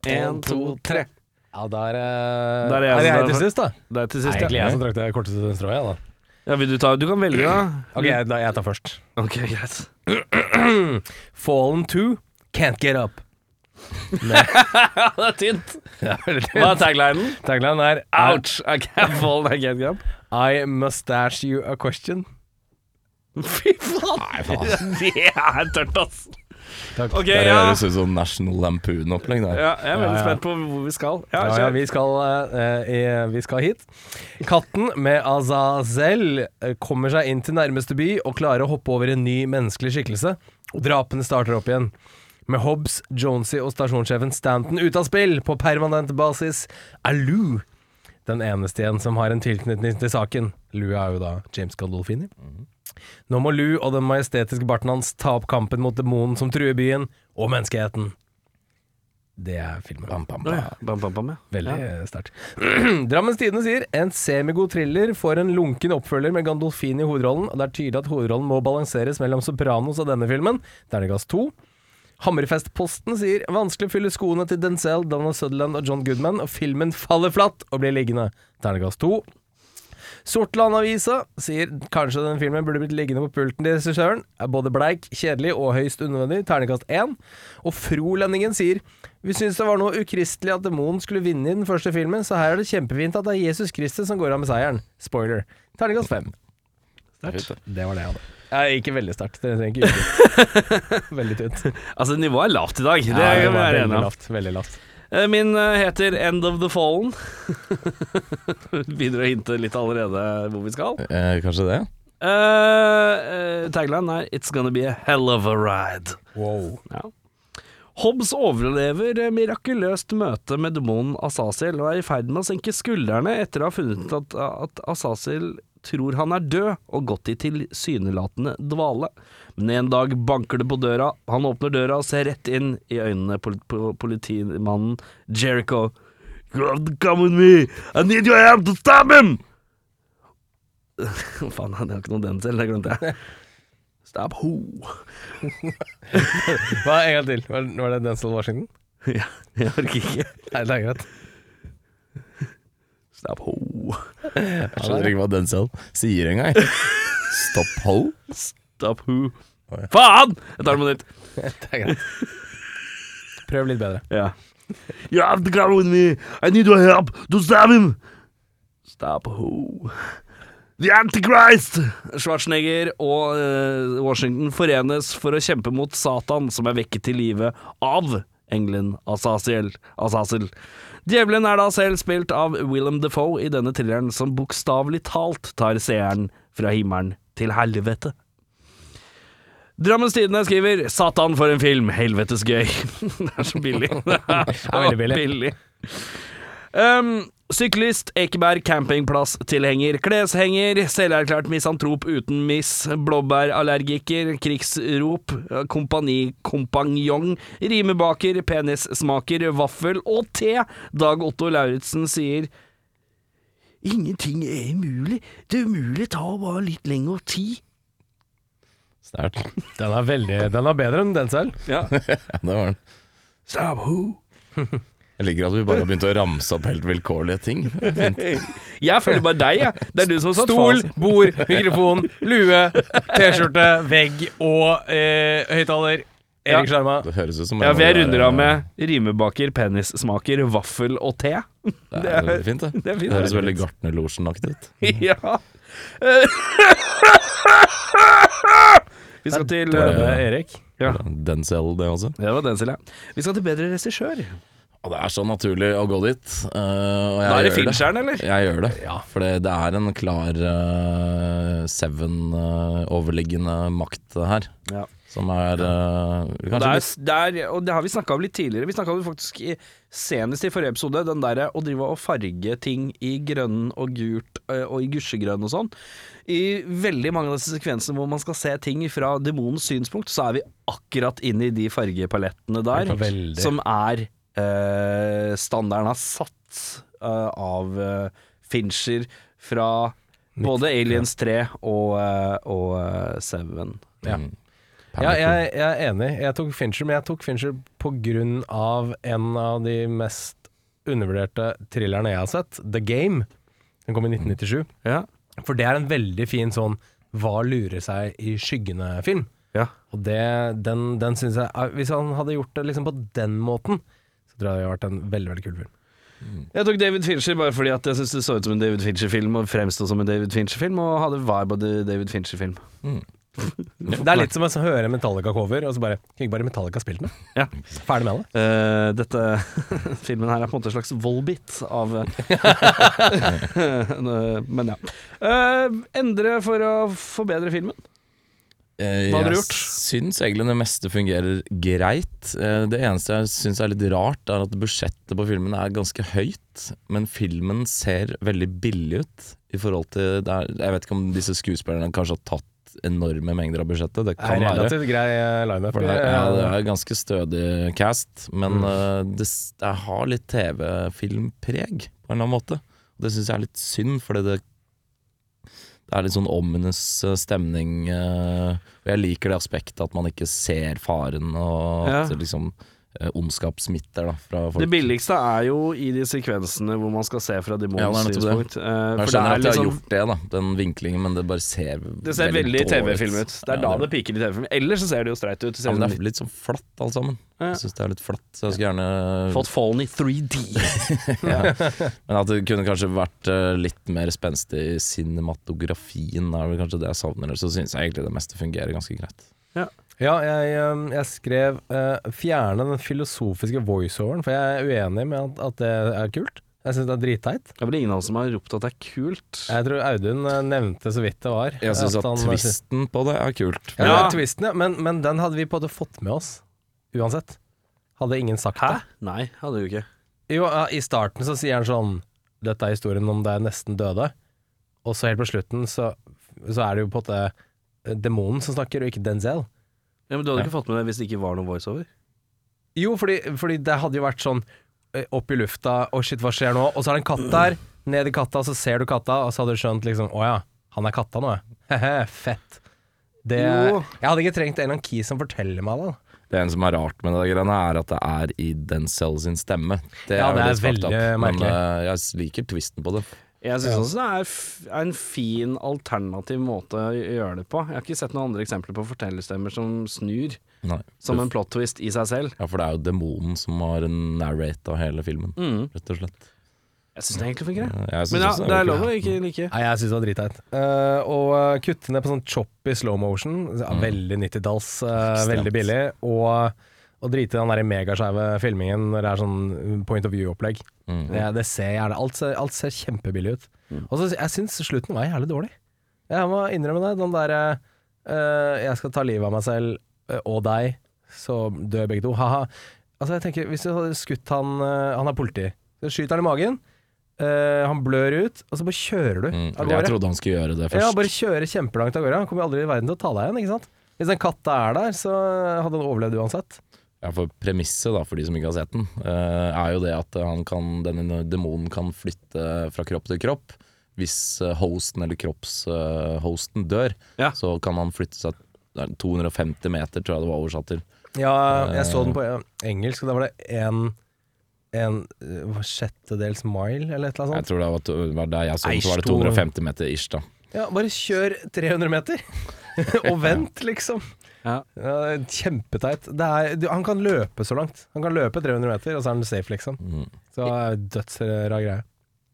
S1: En, to, tre.
S4: Ja, der, eh,
S1: Der er jeg
S4: er
S1: som
S4: jeg
S1: er-
S4: til sist, da.
S1: Det er til
S4: Det er
S1: sist,
S4: egentlig
S1: ja.
S4: jeg som trakk det korteste strået, jeg, da.
S1: ja vil du, ta, du kan velge, da.
S4: Ok, jeg, da, jeg tar først.
S1: Ok, greit.
S4: Fallen 2, Can't Get Up.
S1: Ja, det er tynt. Hva er taglinen?
S4: Taglinen er Out.
S1: Ouch! I can't fall, I can't grab.
S4: I mustache you a question.
S1: Fy faen! Det er tørt, ass.
S4: Takk.
S1: Ok,
S3: Det
S1: ja.
S3: høres ut som National Lampoon-opplegg. der.
S1: ja. Jeg er veldig
S4: Ja, ja.
S1: spent på hvor vi skal. Ja,
S4: Ja, ja,
S1: kjør.
S4: vi, skal, eh, eh, vi skal hit. Katten med Azazel eh, kommer seg inn til nærmeste by og klarer å hoppe over en ny menneskelig skikkelse. Og drapene starter opp igjen. Med Hobbs, Jonesy og stasjonssjefen Stanton ute av spill på permanent basis er Lou den eneste igjen som har en tilknytning til saken. Lou er jo da James Gandolfini.
S3: Mm-hmm.
S4: Nå må Lou og den majestetiske barten hans ta opp kampen mot demonen som truer byen og menneskeheten. Det er filmen.
S3: Bam, bam,
S1: Å
S3: bam.
S1: ja. Bam, bam, bam, ja.
S4: Veldig
S1: Ja.
S4: eh, sterkt. Drammens Tidende sier en semigod thriller får en lunken oppfølger med Gandolfin i hovedrollen, og det er tydelig at hovedrollen må balanseres mellom Sopranos og denne filmen. Terningkast to. Hammerfestposten sier vanskelig å fylle skoene til Denzel, Donna Sutherland og John Goodman, og filmen faller flatt og blir liggende. Terningkast to. Sortland-avisa sier kanskje den filmen burde blitt liggende på pulten til regissøren. Er både bleik, kjedelig og høyst unødvendig. Terningkast én. Og Frolendingen sier vi syns det var noe ukristelig at demonen skulle vinne i den første filmen, så her er det kjempefint at det er Jesus Kristus som går av med seieren. Spoiler. Terningkast fem. Det var det jeg hadde. Eh, ikke veldig sterkt. Dere trenger ikke juble. Veldig tynt.
S1: Altså, nivået er lavt i dag. Det
S4: Ja,
S1: kan vi
S4: var
S1: være
S4: veldig
S1: enige om.
S4: lavt. Veldig lavt.
S1: Eh, Min eh, heter End of the Fallen. Begynner å hinte litt allerede hvor vi skal.
S3: Eh, kanskje det?
S1: Eh, eh, tagline er 'It's gonna be a hell of a ride'.
S4: Wow.
S1: Ja. Hobbs overlever eh, mirakuløst møte med demonen Asasil og er i ferd med å senke skuldrene etter å ha funnet ut at, at Asasil tror han er død og gått i tilsynelatende dvale. Men en dag banker det på døra, han åpner døra og ser rett inn i øynene på på politimannen Jericho. You have to come with me! I need your help to stab him! Faen, jeg har ikke noe den selv, det glemte jeg. Stab ho.
S4: Hva, en gang til. Var, var det Denzel Washington?
S1: Ja, jeg orker ikke.
S4: Nei, det er greit.
S1: Stab ho.
S3: Jeg skjønner ikke hva Denzel sier engang. Stopp ho?
S1: Stab ho.
S3: Å, ja.
S1: Faen! Jeg tar det på nytt.
S4: Det er greit. Prøv litt bedre.
S1: Ja. You have to come with me. I need your help to stab him. Stab ho. The Antichrist! Schwarzenegger og eh, Washington forenes for å kjempe mot Satan, som er vekket til live av engelen Azazel. Azazel. Djevelen er da selv spilt av Willem Defoe i denne thrilleren, som bokstavelig talt tar seeren fra himmelen til helvete. Drammens Tidende skriver 'Satan for en film, helvetes gøy'. det er så billig. Det er så
S4: veldig billig.
S1: Um, syklist, Ekeberg, campingplass-tilhenger, kleshenger, selverklært misantrop uten miss, blåbærallergiker, krigsrop, kompanikompanjong, rimebaker, penissmaker, vaffel og te. Dag Otto Lauritzen sier Ingenting er umulig. Det umulige tar bare litt lengre tid.
S3: Sterkt.
S4: Den er, veldig, den er bedre enn Denzel.
S1: Ja.
S3: Ja, det var den.
S1: Stab who?
S3: Jeg liker at vi bare har begynt å ramse opp helt vilkårlige ting.
S1: Jeg føler bare deg, jeg. Det er du som har satt
S4: Stol,
S1: fasit.
S4: bord, mikrofon, lue, T-skjorte, vegg og eh, høyttaler.
S1: Ja.
S4: Erik Sjarma.
S3: Det høres ut som
S1: Ja, for jeg
S3: det er-
S1: runder av med rimebaker, penissmaker, vaffel og te.
S3: eh, Det er veldig fint, det.
S1: Det er fint.
S3: Det høres veldig Gartnerlosjen-aktig ut.
S4: Mm.
S1: Ja. Vi skal til eh,
S4: Døde
S1: Ja,
S4: Erik.
S3: Denzel, det også.
S1: det var den, Silje. Vi skal til bedre regissør.
S3: Og det er så naturlig å gå dit. eh, og jeg
S1: Da er det
S3: gjør
S1: filmstjerne, eller?
S3: Jeg gjør det. For det, det er en klar eh, Seven-overliggende makt her.
S1: Ja.
S3: Som er eh,
S1: Det
S3: kanskje
S1: er, det er, og det har vi snakka om litt tidligere. Vi snakka om det faktisk i, senest i forrige episode, den derre å drive og farge ting i grønn og gult eh, og i gusjegrønn og sånn. I veldig mange av disse sekvensene hvor man skal se ting fra demonens synspunkt, så er vi akkurat inne i de fargepalettene der,
S4: Veldig.
S1: som er eh, standarden er satt eh, av eh, Fincher fra både Aliens 3 og, eh, og eh, Seven.
S4: Ja. Ja, jeg, jeg er enig. Jeg tok Fincher, men jeg tok Fincher på grunn av en av de mest undervurderte thrillerne jeg har sett, The Game. Den kom i 1997.
S1: Ja.
S4: For det er en veldig fin sånn hva lurer seg i skyggene-film.
S1: Ja.
S4: Og det, den, den synes jeg er- Hvis han hadde gjort det liksom på den måten, så tror jeg det hadde vært en veldig veldig kul film.
S1: Jeg tok David Fincher bare fordi at jeg syntes det så ut som en David Fincher-film, og fremsto som en David Fincher-film, og hadde vibe av det David Fincher-film.
S4: Det er litt som å høre Metallica-cover, og så bare Kan ikke bare Metallica spille den?
S1: Ja.
S4: Ferdig med det.
S1: Eh, dette filmen her er på en måte en slags Volbit av Men ja. Eh, endre for å forbedre filmen.
S3: Hva
S1: hadde du gjort?
S3: Eh, Jeg syns egentlig det meste fungerer greit. Eh, Det eneste jeg syns er litt rart, er at budsjettet på filmen er ganske høyt, men filmen ser veldig billig ut i forhold til det er, Jeg vet ikke om disse skuespillerne kanskje har tatt enorme mengder av budsjettet. Det
S4: er
S3: kan være.
S4: relativt grei eh, lineup.
S3: For det, er- ja, det er ganske stødig cast, men
S1: Mm.
S3: eh, det, s- det har litt TV-filmpreg på en eller annen måte. Og det syns jeg er litt synd, fordi det, det er litt sånn ominous eh, stemning. eh, og jeg liker det aspektet at man ikke ser faren, og
S1: Ja.
S3: at det liksom eh, ondskap smitter da, fra folk.
S1: Det billigste er jo i de sekvensene hvor man skal se fra
S3: Ja, det
S1: Demons
S3: er nettopp det.
S1: synspunkt. Eh,
S3: jeg
S1: for det
S3: skjønner
S1: er
S3: at de har
S1: liksom-
S3: gjort det, da, den vinklingen, men det bare ser
S1: Det ser veldig
S3: dårlig
S1: TV-film ut. Det er
S3: Ja,
S1: da det piker i TV-film. Ellers så ser det jo streit ut. Det ser
S3: ja, men det
S1: ut
S3: er litt sånn flatt alt sammen.
S1: Ja.
S3: Jeg syns det er litt flatt, så jeg
S1: som-
S3: skulle gjerne
S1: Fått Fallen i 3D.
S3: Men at det kunne kanskje vært eh, litt mer spenstig i cinematografien, er vel kanskje det jeg savner. ellers Så syns jeg egentlig det meste fungerer ganske greit.
S4: Ja, jeg, eh, jeg skrev eh, 'fjerne den filosofiske voiceoveren', for jeg er uenig med at, at det er kult. Jeg syns det er dritteit.
S1: Det er vel ingen av oss som har ropt at det er kult.
S4: Jeg tror Audun eh, nevnte så vidt det var.
S3: Jeg syns at
S4: han- eh,
S3: twisten på det er kult.
S4: Ja, det
S1: Ja.
S4: er twisten, ja. Men, men den hadde vi på en måte fått med oss uansett. Hadde ingen sagt
S1: Hæ? Nei, hadde du ikke.
S4: det. Jo, ja, I starten så sier han sånn 'Dette er historien om da jeg nesten døde', og så helt på slutten så, så er det jo på en måte eh, demonen som snakker, og ikke Denzel.
S1: Ja, men Du hadde ikke fått med det hvis det ikke var noen voiceover?
S4: Jo, fordi, fordi det hadde jo vært sånn eh, opp i lufta, å shit, hva skjer nå? Og så er det en katt der, ned i katta, så ser du katta, og så hadde du skjønt liksom, å ja, han er katta nå, ja. Hehe, fett. Det,
S1: Jo.
S4: jeg hadde ikke trengt en eller annen key som forteller meg det. da.
S3: Det ene som er rart med det greiene, er at det er i Denzel sin stemme. Det
S4: Ja, det
S3: jo
S4: er
S3: litt fucked up,
S4: veldig merkelig.
S3: Men eh, jeg liker twisten på det.
S1: Jeg syns også det er, f er en fin alternativ måte å gjøre det på. Jeg har ikke sett noen andre eksempler på fortellerstemmer som snur
S3: Nei.
S1: som en plot twist i seg selv.
S3: Ja, for det er jo demonen som har narrata hele filmen,
S1: Mm.
S3: rett og slett.
S1: Jeg syns det egentlig fungerer.
S3: Ja, jeg synes
S1: Men ja,
S3: også
S1: det er
S3: var
S1: lov å
S3: kult.
S1: ikke like.
S4: Nei, jeg synes det var dritteit. Eh, og eh, kutte ned på sånn choppy slow motion, så- ja, veldig 90-dalls, eh,
S3: Ekstremt.
S4: veldig billig, og, og drite i den der megaskjeve filmingen når det er sånn point of view-opplegg. Det, det ser gjerne, alt ser, alt ser kjempebillig ut. Og så jeg synes slutten var jævlig dårlig. Jeg må innrømme det, den der eh, jeg skal ta livet av meg selv eh, og deg, så dør begge to, haha. Altså jeg tenker, hvis du hadde skutt han, eh, han er politi, så skyter han i magen, eh, han blør ut, og så bare kjører du
S3: Mm.
S4: av
S3: Jeg
S4: gårde.
S3: trodde han skulle gjøre det
S4: Ja,
S3: først.
S4: bare kjøre kjempelangt av gårde. Han kommer aldri i verden til å ta deg igjen, ikke sant? Hvis den katta er der, så hadde han overlevd uansett.
S3: Ja, for Premisset da, for de som ikke har sett den, eh, er jo det at han kan, denne demonen kan flytte fra kropp til kropp. Hvis eh, hosten eller kroppshosten dør,
S1: Ja.
S3: så kan han flytte seg det er 250 meter, tror jeg det var oversatt til.
S4: Ja, jeg så den på eh, engelsk, og da var det en, en eh, hva, sjettedels mile, eller et eller
S3: Jeg
S4: annet sånt.
S3: tror det var, to, var der jeg så den,
S4: Eish,
S3: så var det
S4: to-
S3: 250 meter ish, da.
S4: Ja, bare kjør 300 meter, og vent, liksom.
S1: Ja.
S4: Ja, kjempeteit. Det er, du, han kan løpe så langt. Han kan løpe 300 meter, og så er han safe, liksom.
S3: Mm.
S4: Så eh, dødsrar greie.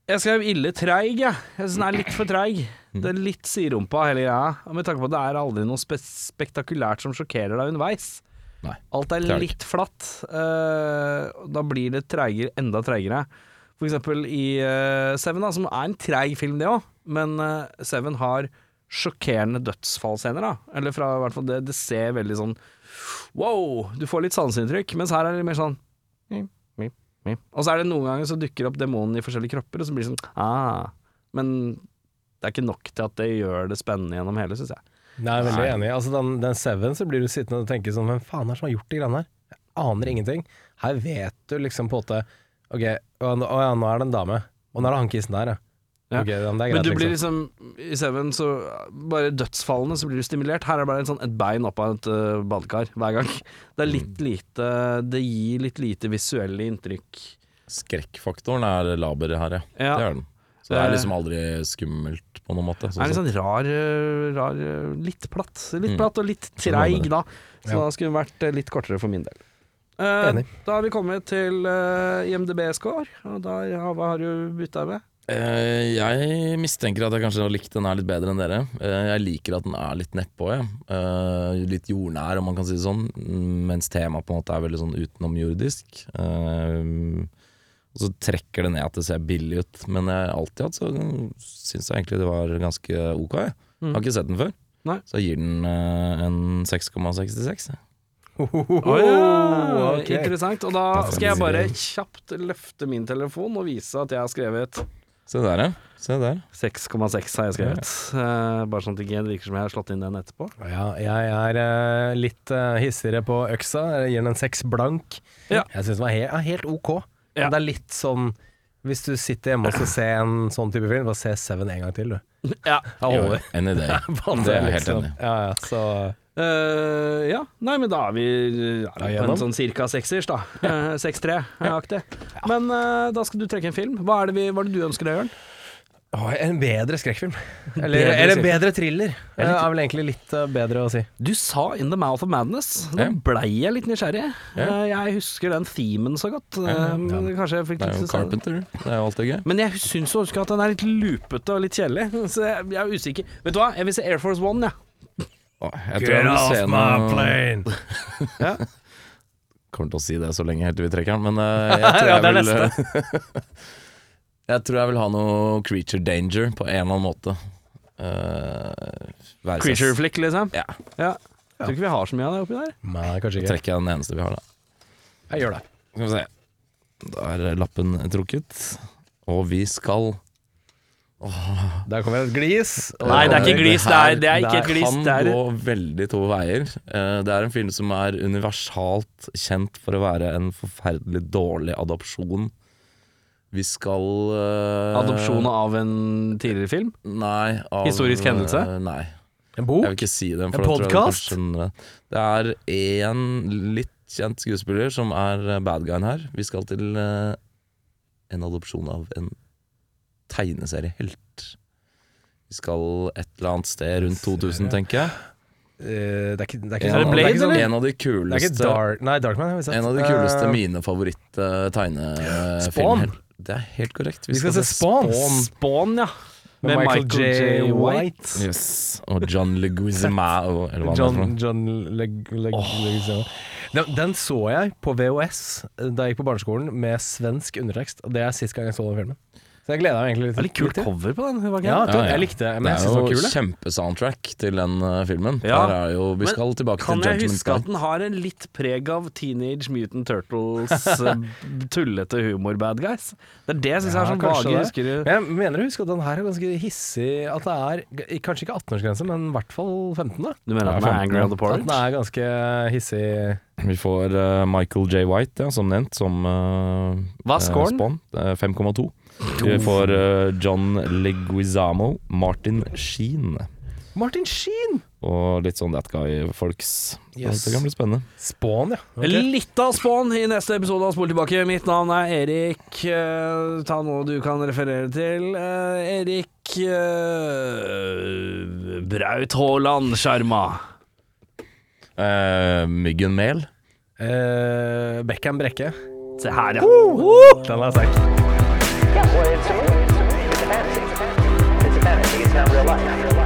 S1: Jeg skrev ille treig, jeg. Jeg syns den er litt for treig.
S3: Mm.
S1: Det er litt siderumpa hele greia. Med tanke på at det er aldri noe spe spektakulært som sjokkerer deg underveis.
S3: Nei,
S1: Alt er
S3: det er det
S1: litt flatt. eh, og da blir det treigere, enda treigere. For eksempel i eh, Seven, da, som er en treig film, det òg. Men eh, Seven har sjokkerende dødsfallscener, da. Eller fra i hvert fall det, det ser veldig sånn wow, du får litt sanseinntrykk. Mens her er det mer sånn mip, mip, mip. Og så er det noen ganger så dukker opp demonen i forskjellige kropper, og så blir det sånn ah. Men det er ikke nok til at det gjør det spennende gjennom hele, syns jeg.
S4: Nei, jeg er veldig enig. Altså, den, den Seven, så blir du sittende og tenke sånn Hvem faen er det som har gjort de greiene her? Jeg aner ingenting. Her vet du liksom på en måte Ok, å, nå- å ja, nå er det en dame. Og nå er det han kissen der, ja.
S1: Ja.
S4: Ok, ja, men det er greit,
S1: Men du blir
S4: liksom.
S1: liksom I Seven så Bare dødsfallene så blir du stimulert. Her er det bare en sånn, et bein opp av et øh, badekar hver gang. Det er
S3: Mm.
S1: litt lite Det gir litt lite visuelle inntrykk.
S3: Skrekkfaktoren er laber her, ja.
S1: Ja.
S3: Det er den. Så det er liksom aldri skummelt på noen måte.
S1: Det er
S3: Sånn
S1: litt
S3: sett.
S1: sånn rar, øh, rar øh, Litt platt. Litt
S3: Mm.
S1: platt og litt
S3: noe med
S1: treig,
S3: det.
S1: da. Så da skulle den vært øh, litt kortere for min del. Eh,
S4: Enig.
S1: da har vi kommet til øh, IMDb-score, og der, har- hva har du bytta med?
S3: Eh, jeg mistenker at jeg kanskje har likt den her litt bedre enn dere. Eh, jeg liker at den er litt nedpå, jeg. Eh, litt jordnær, om man kan si det sånn. mm, Mens temaet på en måte er veldig sånn utenomjordisk. Eh, og så trekker det ned at det ser billig ut. Men jeg, alltid hatt så syns jeg egentlig det var ganske ok. Jeg. Har ikke sett den før.
S1: Nei.
S3: Så jeg gir den eh, en 6,66. jeg.
S1: Åja,
S4: ok.
S1: Interessant. Og da
S3: Da får
S1: skal jeg
S3: vi-
S1: bare kjapt løfte min telefon og vise at jeg har skrevet
S3: Se der, ja. Se der.
S1: 6,6 har jeg skrevet. Eh, bare sånn at det ikke virker som jeg har slått inn den etterpå.
S4: Ja, jeg er eh, litt eh, hissigere på øksa. Jeg gir den en seks blank.
S1: Ja.
S4: Jeg syns den var he ja, helt ok. Men
S1: Ja.
S4: det er litt sånn Hvis du sitter hjemme og skal se en sånn type film, bare se Seven en gang til, du.
S1: Ja.
S4: Jeg holder.
S3: Any day. Det er jeg helt enig i.
S4: liksom. Ja, ja, så
S1: Eh, ja. Nei, men da er vi, er vi på
S4: gjennom.
S1: en sånn cirka seksers, da. Eh, 6-3-aktig. Men eh, da skal du trekke en film. Hva er det, vi, hva er det du ønsker deg, Jørn?
S4: Å, En bedre skrekkfilm. Eller,
S1: Bedre
S4: eller
S1: skrekkfilm.
S4: bedre thriller. Det er, vel egentlig litt eh, bedre å si.
S1: Du sa 'In the mouth of madness'. Da
S3: Ja.
S1: blei jeg litt nysgjerrig. Eh, jeg husker den themen så godt. Eh, men Kanskje jeg fikk
S3: Det er
S1: litt
S3: jo
S1: lyst til å se den.
S3: Carpenter. Det er jo alltid gøy.
S1: Men jeg syns å huske at den er litt loopete og litt kjedelig, så jeg, jeg er usikker. Vet du hva, jeg vil se Air Force One, jeg. Ja.
S3: Å, Jeg tror jeg vil se noe Kommer til å si det så lenge helt til vi trekker den, men eh, jeg tror
S4: Ja,
S3: jeg
S4: det er
S3: vil Jeg tror jeg vil ha noe creature danger på en eller annen måte. Eh, være seg-
S1: Creature flick, liksom.
S3: Ja.
S1: Ja. Tror ikke vi har så mye av det oppi der.
S4: Nei, kanskje ikke.
S3: Trekker jeg den eneste vi har, da.
S4: Jeg gjør det.
S3: Skal vi se. Da er lappen trukket, og vi skal
S4: Der kommer et glis. og-
S1: Nei, det er ikke glis. Det er, det er ikke et glis.
S3: Kan
S1: Det er
S3: gå veldig to veier. Eh, Det er en film som er universalt kjent for å være en forferdelig dårlig adopsjon. Vi skal eh,
S1: adopsjon av en tidligere film.
S3: Nei. Av,
S1: Historisk hendelse?
S3: eh, Nei.
S4: En
S3: Jeg
S4: bok?
S3: vil ikke si den.
S4: En podcast?
S3: Det er én litt kjent skuespiller som er eh, bad guyen her. Vi skal til eh, en adopsjon av en tegneseriehelt. Vi skal et eller annet sted rundt 2000, tenker jeg.
S4: Eh, det er ikke, det er ikke
S3: En
S1: Er
S3: av-
S1: det Blade,
S4: det ikke sånn-
S1: eller?
S3: En av de
S4: Det er ikke
S3: kuleste
S4: Dark Nei, Darkman har vi sett.
S3: En av de kuleste
S4: Eh,
S3: mine favoritt-tegnefilmer.
S4: Spawn.
S3: det er helt korrekt.
S4: Vi skal se Spawn.
S1: Spawn, ja.
S4: Med Michael, J. White.
S3: Yes. Og John Leguizamo, eller hva han heter.
S4: John, John Leg... Leg, Leguizamo. den, den så jeg på VHS eh, da jeg gikk på barneskolen, med svensk undertekst. Og det er sist gang jeg så den filmen. Så jeg gleda meg egentlig litt.
S1: Det er litt kult cover på den. var ikke det?
S4: Ja,
S3: Ja, ja.
S4: Jeg likte men
S3: Det
S4: jeg
S3: er
S4: synes den. var
S3: jo
S4: kul, jeg.
S3: kjempesoundtrack til den eh, filmen.
S1: Ja.
S3: Der er jo, vi
S1: Men
S3: skal tilbake
S1: Kan jeg
S3: til Judgment
S1: huske at
S3: Day.
S1: den har en litt preg av Teenage Mutant Turtles eh, tullete humor-bad guys? Det er det jeg syns
S4: Ja,
S1: er sånn
S4: kanskje
S1: vage
S4: det.
S1: husker.
S4: Men jeg mener å huske at den her er ganske hissig. At det er g- kanskje ikke 18-årsgrense, men i hvert fall 15, da.
S1: Du mener
S3: Ja,
S1: at den er
S3: femten.
S1: Angry on the
S4: At den
S1: Porridge?
S4: er ganske hissig.
S3: Vi får eh, Michael J. White, ja, som nevnt, som eh,
S1: Hva er
S3: eh,
S1: scoren?
S3: Spawn. Eh, 5,2. Vi får eh, John Leguizamo, Martin Sheen
S4: Martin Sheen!
S3: og litt sånn That Guy-folks.
S4: Yes.
S3: Det kan bli spennende.
S4: Spawn, ja. Ok.
S1: Litt av spawn i neste episode av Spol tilbake. Mitt navn er Erik. Eh, ta noe du kan referere til. Eh, Erik eh, Braut Haaland Sjarma.
S3: Eh, myggen Mel.
S4: Eh, Beckham Brekke.
S1: Se her, ja.
S4: Den er sterk.
S2: Yeah, well, it's a movie. It's a movie. It's a fantasy. It's a fantasy. It's a fantasy. It's not real life.